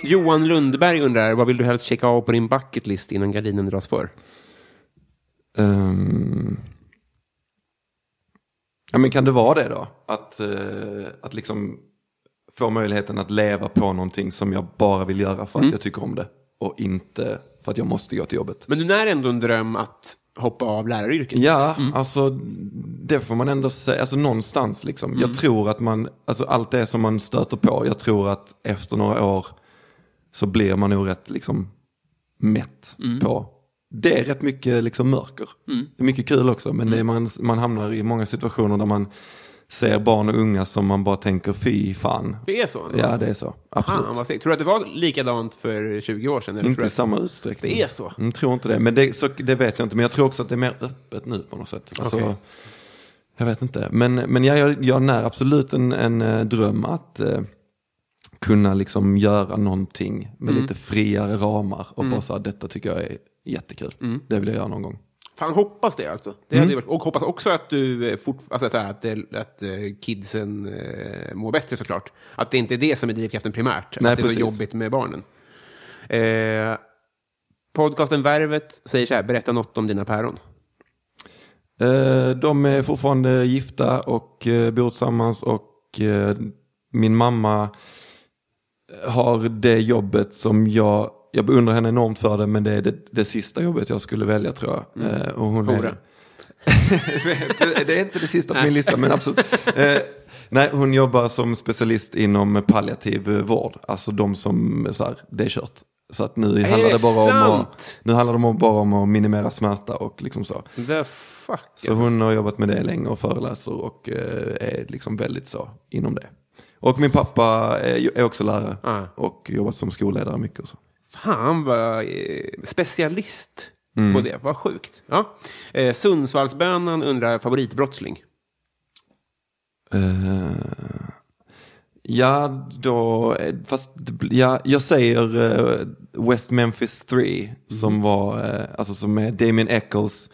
Johan Lundberg undrar, vad vill du helst checka av på din bucket list innan gardinen dras för? Ehm. Ja, men kan det vara det då? Att, eh, att liksom få möjligheten att leva på någonting som jag bara vill göra för att jag tycker om det. Och inte för att jag måste gå till jobbet. Men du när ändå en dröm att hoppa av läraryrket. Ja, alltså det får man ändå säga. Alltså någonstans liksom. Jag Mm. tror att man, alltså allt det som man stöter på, jag tror att efter några år så blir man nog rätt liksom mätt Mm. på. Det är rätt mycket liksom mörker. Det är mycket kul också, men det är Mm. man, man hamnar i många situationer där man ser barn och unga som man bara tänker fy fan. Det är så? Ja, det är så. Absolut. Fan, vad segt. Tror du att det var likadant för 20 år sedan? Eller tror Inte du i att- samma utsträckning. Det är så. Mm, tror inte det. Men det, så, det vet jag inte. Men jag tror också att det är mer öppet nu på något sätt. Alltså, Okej. Jag vet inte. Men, men jag, jag, jag när absolut en, en eh, dröm att eh, kunna liksom göra någonting med Mm. lite friare ramar. Och bara så här, detta tycker jag är jättekul. Mm. Det vill jag göra någon gång. Fan, hoppas det alltså. Det Mm. hade ju varit, och hoppas också att du eh, fort, alltså, så här, att, eh, att eh, kidsen eh, mår bättre såklart. Att det inte är det som är drivkraften primärt. Nej, att det är så precis. jobbigt med barnen. Eh, podcasten Värvet säger så här, berätta något om dina päron. Eh, de är fortfarande gifta och eh, bor tillsammans och eh, min mamma eh, har det jobbet som jag, jag beundrar henne enormt för det men det är det, det sista jobbet jag skulle välja tror jag. Eh, och hon Hora. är, [LAUGHS] det är inte det sista på min lista, men absolut. Eh, nej, hon jobbar som specialist inom palliativ eh, vård. Alltså de som, så här, det är kört. Så att nu handlar det, det bara om att, sant? nu handlar det om- bara om att minimera smärta och liksom så. The fuck. Så hon har jobbat med det länge och föreläser och eh, är liksom väldigt så inom det. Och min pappa är, ju- är också lärare Ah. och jobbat som skolledare mycket och så. Fan vad eh, specialist Mm. på det. Vad sjukt. Ja. Eh, Sundsvallsbönan undrar favoritbrottsling. Eh, ja, då, eh, fast det bl- ja, jag säger eh, West Memphis 3 Mm. som var, eh, alltså som är Damien Eccles,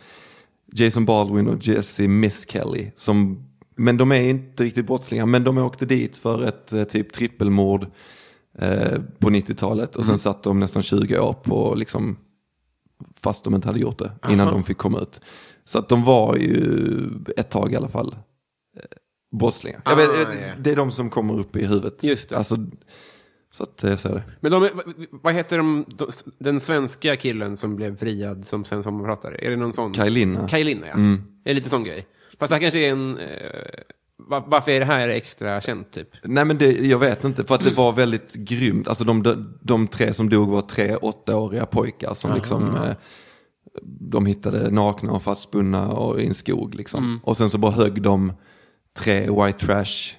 Jason Baldwin och Jesse Miss Kelly. Som, men de är inte riktigt brottslingar, men de åkte dit för ett eh, typ trippelmord eh, på 90-talet Mm. och sen satt de nästan 20 år på liksom fast de inte hade gjort det innan de fick komma ut. Så att de var ju ett tag i alla fall eh, brottslingar. jag Ah, vet, jag- ja. Det är de som kommer upp i huvudet. Just det. Alltså, så att jag säger det. Men de, är- v- vad heter de, de, den svenska killen som blev friad som sen sommarpratare? Är det någon sån? Kaj Linna. Kaj Linna, ja. Mm. Det är lite sån grej. Fast det här kanske är en... Eh, va- varför är det här extra känt, typ? Nej men det, jag vet inte, för att det var väldigt grymt. Alltså de, de, de tre som dog var tre åttaåriga pojkar som liksom, eh, de hittade nakna och fastbundna och i en skog liksom. Mm. Och sen så bara högg de tre white trash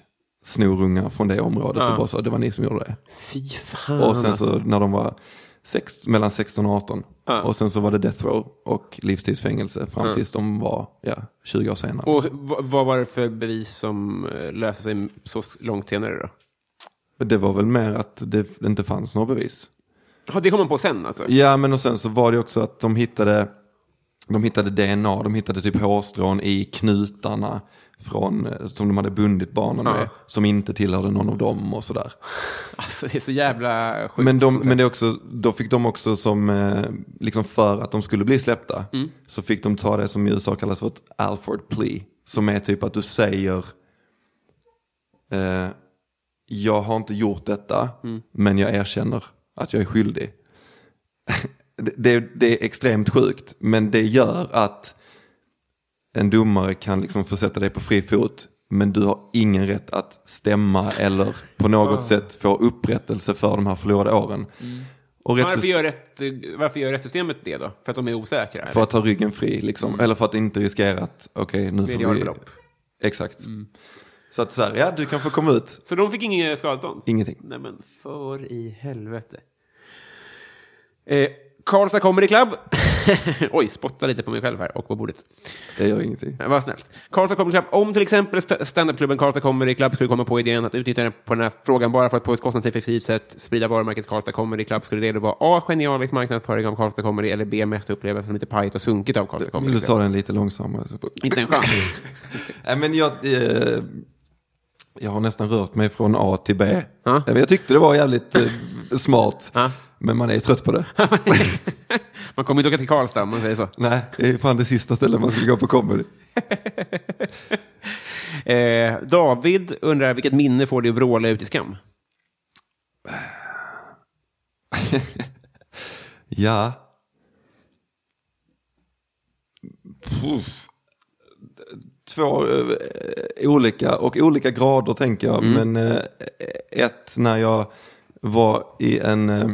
snorungar från det området och bara sa det var ni som gjorde det. Fy fan. alltså. Och sen så när de var sex, mellan 16 och 18. Ja. Och sen så var det death row och livstidsfängelse fram tills de var ja, 20 år senare. Och v- vad var det för bevis som eh, löste sig så s- långt senare då? Och det var väl mer att det inte fanns några bevis. Ja, det kom man på sen alltså? Ja, men och sen så var det också att de hittade, de hittade DNA, de hittade typ hårstrån i knutarna från, eh, som de hade bundit barnen med, Ja. som inte tillhörde någon av dem och sådär. Alltså det är så jävla sjukt. Men, de, sånt där. men det är också, då fick de också som, eh, liksom för att de skulle bli släppta, Mm. så fick de ta det som i USA kallas för ett Alford plea, som är typ att du säger, eh, jag har inte gjort detta, Mm. men jag erkänner att jag är skyldig. det, det, det är extremt sjukt, men det gör att en domare kan liksom försätta dig på fri fot men du har ingen rätt att stämma eller på något sätt få upprättelse för de här förlorade åren. Och rättssys- Mm. Varför gör, rätt, eh, varför gör rättssystemet det då? För att de är osäkra? för att ta ryggen fri, liksom. Mm. eller för att inte riskera att okej nu får vi... Miljardbelopp. Exakt. Mm. Så att så här, ja du kan få komma ut. Så de fick inget skadestånd? Ingenting. Nej men för i helvete. Eh, Karlstad Comedy Club. [LAUGHS] Oj, spotta lite på mig själv här och på bordet. Det gör ingenting. Eh, Vad snällt. Karlstad Comedy Club. Om till exempel st- standupklubben Karlstad Comedy Club skulle komma på idén att utnyttja den på den här frågan bara för att på ett kostnadseffektivt sätt sprida varumärket Karlstad Comedy Club skulle det då vara A. Genialisk marknadsföring av Karlstad Comedy eller B. Mest upplevelse som lite pajigt och sunkigt av Karlstad Vill Comedy du Club. ta den lite långsammare? så- Inte en chans. Nej, men jag, eh, jag har nästan rört mig från A till B. Ja. Nej, men Jag tyckte det var jävligt eh, smart. Ja. Men man är trött på [LAUGHS] det. Man kommer inte åka till Karlstad om man säger så. Nej, det är fan det sista stället man skulle gå på comedy. Eh, David undrar vilket minne får du att vråla ut i skam? Ja. Puff. Två eh, olika och olika grader tänker jag. Men eh, ett när jag var i en, eh,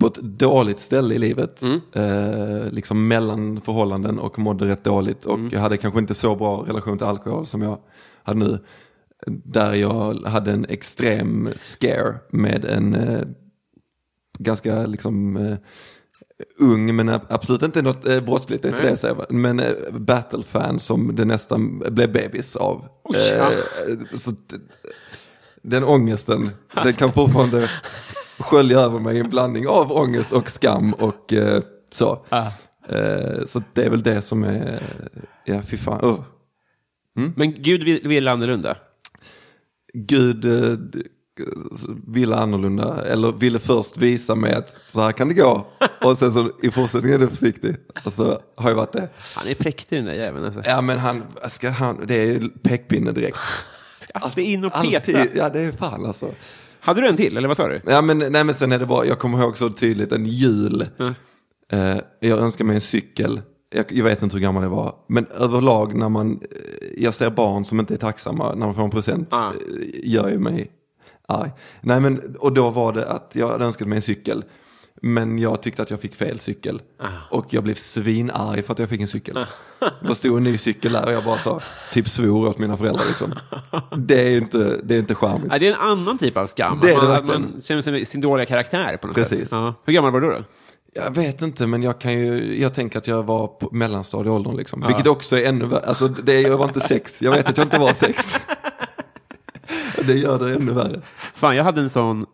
på ett dåligt ställe i livet. Eh, liksom mellan förhållanden och mådde rätt dåligt. Och jag hade kanske inte så bra relation till alkohol som jag hade nu. Där jag hade en extrem scare med en eh, ganska liksom eh, ung, men ab- absolut inte något eh, brottsligt, det är inte det jag säger. va? Men eh, Battle-fan som det nästan blev bebis av. Eh, så d- den ångesten, den kan fortfarande skölja över mig i en blandning av ångest och skam och eh, så. Eh, så det är väl det som är, ja fy fan. Oh. Men Gud vill, vill annorlunda. Gud eh, d- ville annorlunda, eller ville först visa mig att så här kan det gå. Och sen så i fortsättningen är du försiktig. Och så har jag varit det. Han är präktig den där jäveln. Alltså. Ja men han, ska han det är ju pekpinne direkt. Alltså, in och peta. Alltid, ja det är fan alltså. Hade du en till, eller vad sa du? Ja men, nej, men sen är det bara, jag kommer ihåg så tydligt en jul. Eh, jag önskar mig en cykel. Jag, jag vet inte hur gammal jag var. Men överlag när man, eh, jag ser barn som inte är tacksamma när de får en present. Ah. eh, Gör ju mig arg. Nej men, och då var det att jag hade önskat mig en cykel. Men jag tyckte att jag fick fel cykel. Och jag blev svinarg för att jag fick en cykel. Det stod en ny cykel där och jag bara sa, typ svor åt mina föräldrar liksom. Det är ju inte, det är inte charmigt. Ja, det är en annan typ av skam. Det är Att det man, att verkligen. man känner sig, sin dåliga karaktär på något sätt. Precis. Ja. Hur gammal var du då? Jag vet inte, men jag, kan ju, jag tänker att jag var på mellanstadieåldern. Liksom. Vilket också är ännu värre. Alltså, det, jag var inte sex. Jag vet att jag inte var [LAUGHS] sex. Det gör det ännu värre. Fan, jag hade en sån...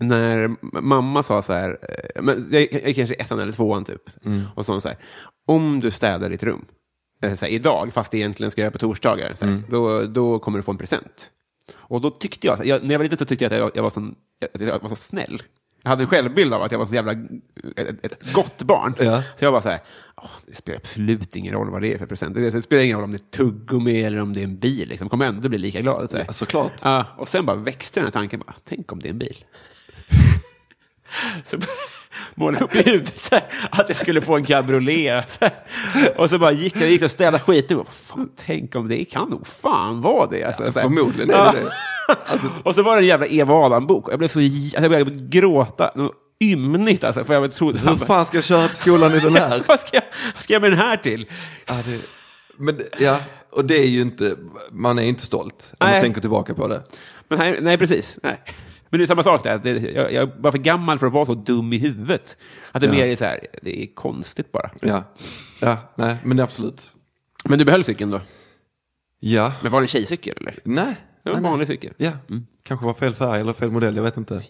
När m- mamma sa så här, eh, men jag jag är kanske ettan eller tvåan typ, och så sa hon så här, om du städar ditt rum eh, så här, idag, fast det egentligen ska jag göra på torsdagar, så här, då, då kommer du få en present. Och då tyckte jag, så här, jag när jag var liten så tyckte jag att jag, jag, var sån, att jag var så snäll. Jag hade en självbild av att jag var så jävla ett, ett gott barn. Ja. Så jag var så här, "Åh, det spelar absolut ingen roll vad det är för present. Det spelar ingen roll om det är tuggummi eller om det är en bil. Liksom. Kommer ändå bli lika glad. Så här. Ja, såklart. Ja, och sen bara växte den här tanken. Bara, Tänk om det är en bil. [LAUGHS] så målade jag upp i huvudet så här, att jag skulle få en cabriolet. Så här. Och så bara gick jag gick jag och städade skiten. Bara, fan, tänk om det kan nog fan vara det. Alltså, så här. Förmodligen är Ja. det det. Alltså- [LAUGHS] Och så var det en jävla Eva Adam-bok. Jag blev så... j- alltså, Jag började gråta något ymnigt. Alltså, för jag trodde... Hur fan ska jag köra till skolan i den här? [LAUGHS] Vad ska jag, vad ska jag med den här till? Ja, det, men, det- ja, och det är ju inte, man är inte stolt om man Nej. tänker tillbaka på det. Men här, nej, precis. Nej. Men det är samma sak där. Det, jag, jag var för gammal för att vara så dum i huvudet. Att det Ja. mer är så här, det är konstigt bara. Ja, ja nej, men absolut. Men du behöll cykeln då? Ja, Men var det en tjejcykel eller? nej. Det var nej, en nej. vanlig cykel. Mm. Ja, kanske var fel färg eller fel modell, jag vet inte.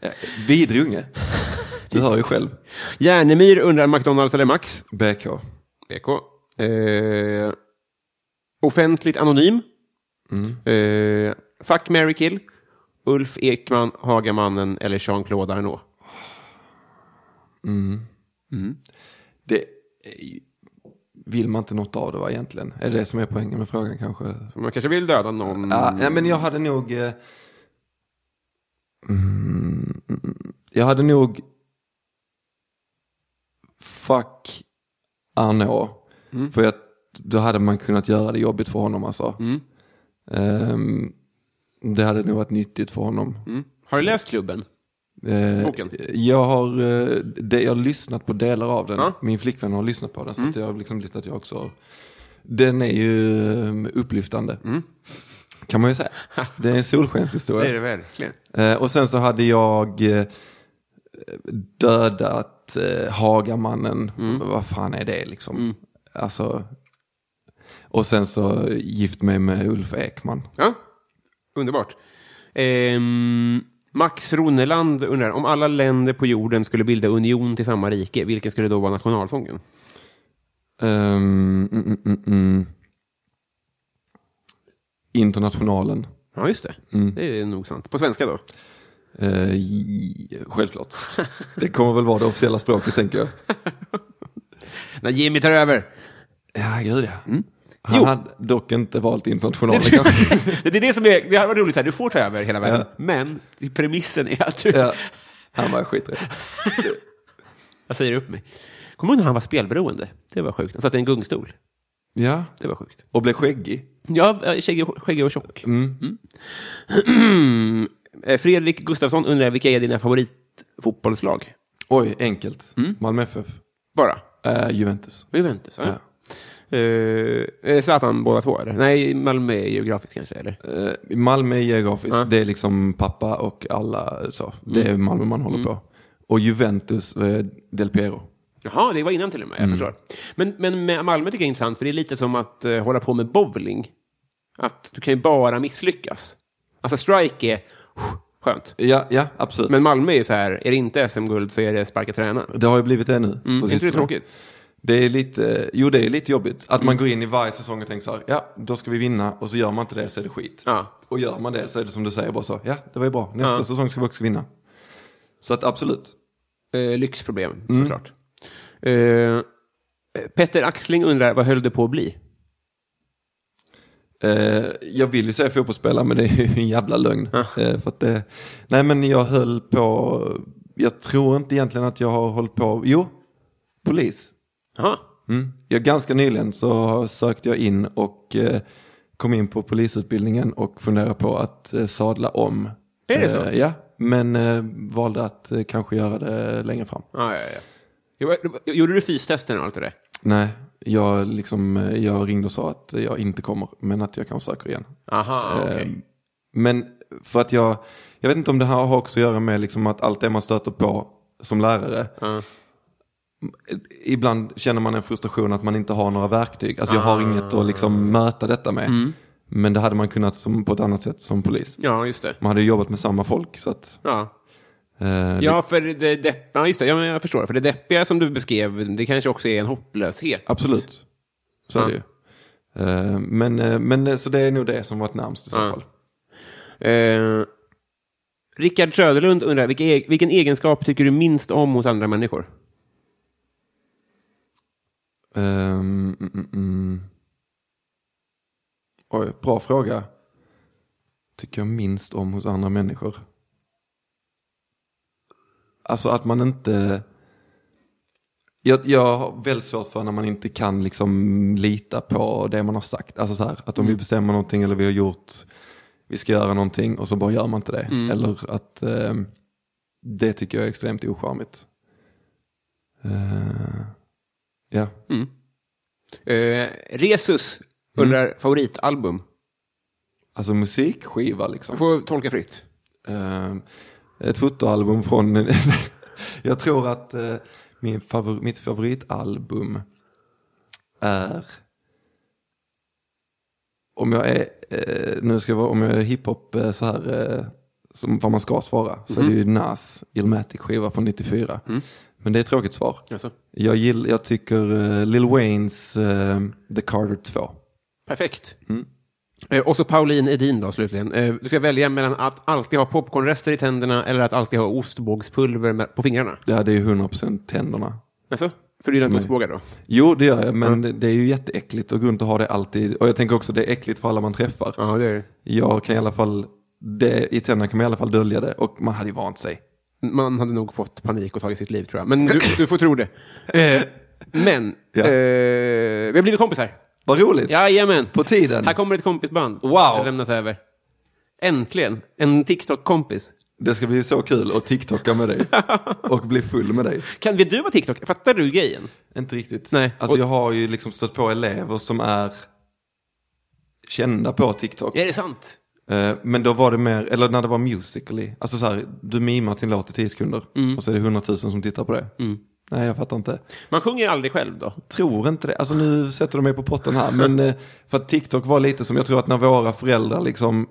Ja, Vidrig unge. Du hör ju själv. Järnemyr undrar McDonalds eller Max? BK. BK. Eh, offentligt anonym. Eh, fuck, Mary kill. Ulf Ekman, Hagamannen eller Jean-Claude Arnault? Det är ju- vill man inte något av det va egentligen? Är det det som är poängen med frågan kanske? Mm. Så man kanske vill döda någon. Ja, nej, men jag hade nog... eh, Mm, mm, mm. jag hade nog... Mm. Fuck Arnaud. För jag då hade man kunnat göra det jobbigt för honom alltså. Ehm, det hade nog varit nyttigt för honom. Har du läst klubben? Eh, Boken? Jag har, eh, det, jag har lyssnat på delar av den. Ja. Mm. Min flickvän har lyssnat på den. Så att jag har liksom blivit att jag också har- Den är ju eh, upplyftande. Kan man ju [LAUGHS] säga. Det är en solskenshistoria. Mm. Det är det verkligen. Eh, och sen så hade jag eh, dödat eh, Hagamannen. Mm. Vad fan är det liksom? Alltså, och sen så gift mig med Ulf Ekman. Ja, underbart. Ehm, Max Roneland undrar, om alla länder på jorden skulle bilda union till samma rike, vilken skulle då vara nationalsången? Ehm, mm, mm, mm, mm. Internationalen. Ja, just det. Det är nog sant. På svenska då? Eh, j- självklart. [LAUGHS] Det kommer väl vara det officiella språket tänker jag. När Jimmy tar över. Ja, gud ja. Han Jo. hade dock inte valt internationalen [LAUGHS] kanske. det är det som är, det hade varit roligt, så här, du får ta över hela världen, men premissen är att du... Ja. Han var skiträdd. Jag säger upp mig. Kommer du ihåg när han var spelberoende? Det var sjukt. Han satt i en gungstol. Ja, Det var sjukt. och blev skäggig. Ja, eh, skäggig skäggig och tjock. Mm. [CLEARS THROAT] Eh, Fredrik Gustafsson undrar, vilka är dina favoritfotbollslag? Oj, enkelt. Malmö FF. Bara. Eh, Juventus. Juventus, ja. Eh, är Zlatan båda två, eller? Nej, Malmö är geografiskt kanske, eller? Eh, Malmö är geografiskt. Det är liksom pappa och alla så. Det är Malmö man håller på. Och Juventus, eh, Del Piero. Jaha, det var innan till och med. Jag förstår. Men, men med Malmö tycker jag är intressant, för det är lite som att eh, hålla på med bowling. Att du kan ju bara misslyckas. Alltså strike är pff, skönt. Ja, ja absolut. Men Malmö är ju så här, är det inte SM-guld så är det sparka tränaren. det har ju blivit det nu. på Är Mm. inte det sistone. tråkigt? Mm. Det är lite, jo det är lite jobbigt. Att man går in i varje säsong och tänker så här, ja då ska vi vinna och så gör man inte det så är det skit. Ja. Och gör man det så är det som du säger bara så, ja det var ju bra, nästa säsong ska vi också vinna. Så att absolut. Eh, lyxproblem, såklart. Eh, Petter Axling undrar, vad höll det på att bli? Eh, jag vill ju säga fotbollsspelare men det är ju en jävla lögn. Eh, för att det, nej men jag höll på, jag tror inte egentligen att jag har hållit på, jo, polis. Jaha. Mm. Ja, ganska nyligen så sökte jag in och eh, kom in på polisutbildningen och funderade på att eh, sadla om. Är det så? Eh, ja, men eh, valde att eh, kanske göra det längre fram. Ah, Ja, ja, ja. Det var- det var- Gjorde du fystesten och allt det där? Nej, jag, liksom, eh, jag ringde och sa att jag inte kommer, men att jag kan söka igen. Aha, okej. Eh, Men för att jag, jag vet inte om det här har också att göra med liksom att allt det man stöter på som lärare. Ibland känner man en frustration att man inte har några verktyg. Alltså jag har inget att liksom möta detta med. Men det hade man kunnat som, på ett annat sätt som polis. Ja, just det. Man hade ju jobbat med samma folk. Så att, Ja. eh, det- Ja, för det depp... ja, just det. Ja, men jag förstår. För det deppiga som du beskrev, det kanske också är en hopplöshet. Absolut, så är det ju. Eh, Men, eh, men eh, så det är nog det som varit närmst i så fall. Eh, Rickard Söderlund undrar, vilka e- vilken egenskap tycker du minst om hos andra människor? Ehm, mm, mm, mm. Oj, bra fråga. Tycker jag minst om hos andra människor. Alltså att man inte... Jag, jag har väldigt svårt för när man inte kan liksom lita på det man har sagt. Alltså så här, att om vi bestämmer någonting eller vi har gjort, vi ska göra någonting och så bara gör man inte det. Eller att ehm, det tycker jag är extremt ocharmigt. Eh, ja. Eh, Resus Mm. undrar, favoritalbum? Alltså musikskiva liksom. Man får tolka fritt. Eh, ett fotoalbum från... [LAUGHS] jag tror att eh, min favor- mitt favoritalbum är... Om jag är, eh, nu ska jag vara, om jag är hiphop eh, så här, eh, som vad man ska svara, så är det Mhm. ju Nas Illmatic skiva från 94. Mm. Men det är ett tråkigt svar. Alltså, Jag, gill, jag tycker eh, Lil Waynes eh, The Carter 2. perfekt. Mm. Eh, och så Pauline Edin då, slutligen. Eh, du ska välja mellan att alltid ha popcornrester i tänderna eller att alltid ha ostbågspulver med, på fingrarna. Det hade ju 100% tänderna. Alltså, för du gillar inte Nej. ostbågar då? Jo, det gör jag, men det- det är ju jätteäckligt att gå runt och ha det alltid. Och jag tänker också det är äckligt för alla man träffar. Ja, det är det. Jag kan i alla fall, det, i tänderna kan man i alla fall dölja det och man hade ju vant sig. Man hade nog fått panik och tagit sitt liv, tror jag. Men du, du får tro det. Eh, men, Ja. eh, vi har blivit kompisar. Vad roligt. Jajamän. På tiden. Här kommer ett kompisband. Wow. Det lämnas över. Äntligen. En TikTok-kompis. Det ska bli så kul att TikToka med [LAUGHS] dig. Och bli full med dig. Kan, vet du vad TikTok Fattar du grejen? Inte riktigt. Nej. Alltså Och- jag har ju liksom stött på elever som är kända på TikTok. Är det sant? Eh, Men då var det mer, eller när det var musically. Alltså så här, du mimar till en låt i tio sekunder. Mm. Och så är det hundratusen som tittar på det. Nej, jag fattar inte. Man sjunger aldrig själv då? Tror inte det. Alltså nu sätter de mig på potten här. Men eh, för att TikTok var lite som, jag tror att när våra föräldrar liksom,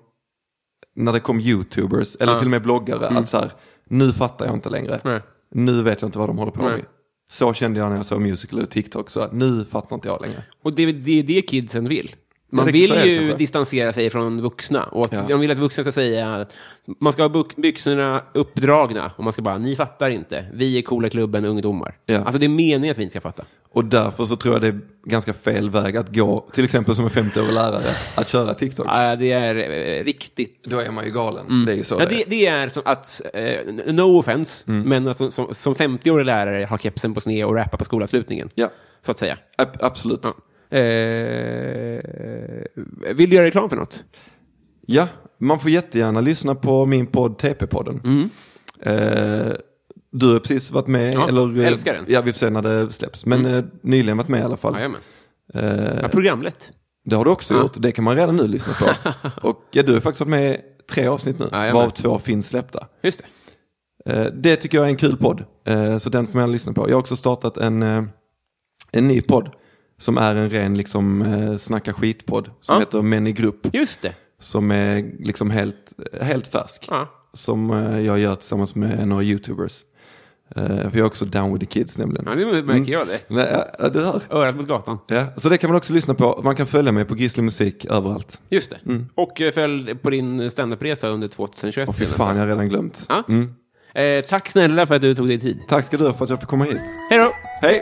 när det kom YouTubers, eller till och med bloggare, att så här, nu fattar jag inte längre. Mm. Nej. Nu vet jag inte vad de håller på Nej. med. Så kände jag när jag såg musical och TikTok, så att nu fattar inte jag längre. Och det är det, är det kidsen vill. Man det- vill så är det ju kanske. distansera sig från vuxna. Och att, Ja. Man vill att vuxna ska säga att man ska ha bu- byxorna uppdragna. Och man ska bara, ni fattar inte. Vi är coola i klubben ungdomar. Ja. Alltså det är meningen att vi inte ska fatta. Och därför så tror jag det är ganska fel väg att gå, till exempel som en 50-årig lärare, att köra TikTok. Ja, det är eh, riktigt. Då är man ju galen. Det är ju så Mm. Ja, det det, är. det är som att, eh, no offense, Mm. men alltså, som, som 50-årig lärare har kepsen på sned och rappar på skolavslutningen. Ja, Så att säga. ab- absolut. Ja. Eh, vill du göra reklam för något? man får jättegärna lyssna på min podd TP-podden. Eh, du har precis varit med, Mm. Ja, eller... eh, älskar den. Mm. Ja, vi får se när det släpps. Men eh, nyligen varit med i alla fall. Jajamän. Eh, Ja, programlett. det har du också gjort, det kan man redan nu lyssna [LAUGHS] på. Och ja, du har faktiskt varit med i tre avsnitt nu, Jajamän. varav två finns släppta. Just det. Eh, Det tycker jag är en kul podd, eh, så den får man lyssna på. Jag har också startat en, eh, en ny podd som är en ren liksom, eh, snacka skit-podd som Ja. heter Män i grupp. Just det. Som är liksom helt, helt färsk. Ja. Som eh, jag gör tillsammans med några YouTubers. Eh, För jag är också down with the kids nämligen. Ja, det Mm. märker jag det. Men, ja, ja, du hör. Örat mot gatan. Ja, så det kan man också lyssna på. Man kan följa mig på Grizzly Musik överallt. Just det. Och eh, följ på din standupresa under 2021. Och Mm. fy Mm. senast. fan, jag har redan glömt. Ja. Eh, tack snälla för att du tog dig tid. Tack ska du ha för att jag fick komma hit. Hej då! Hej!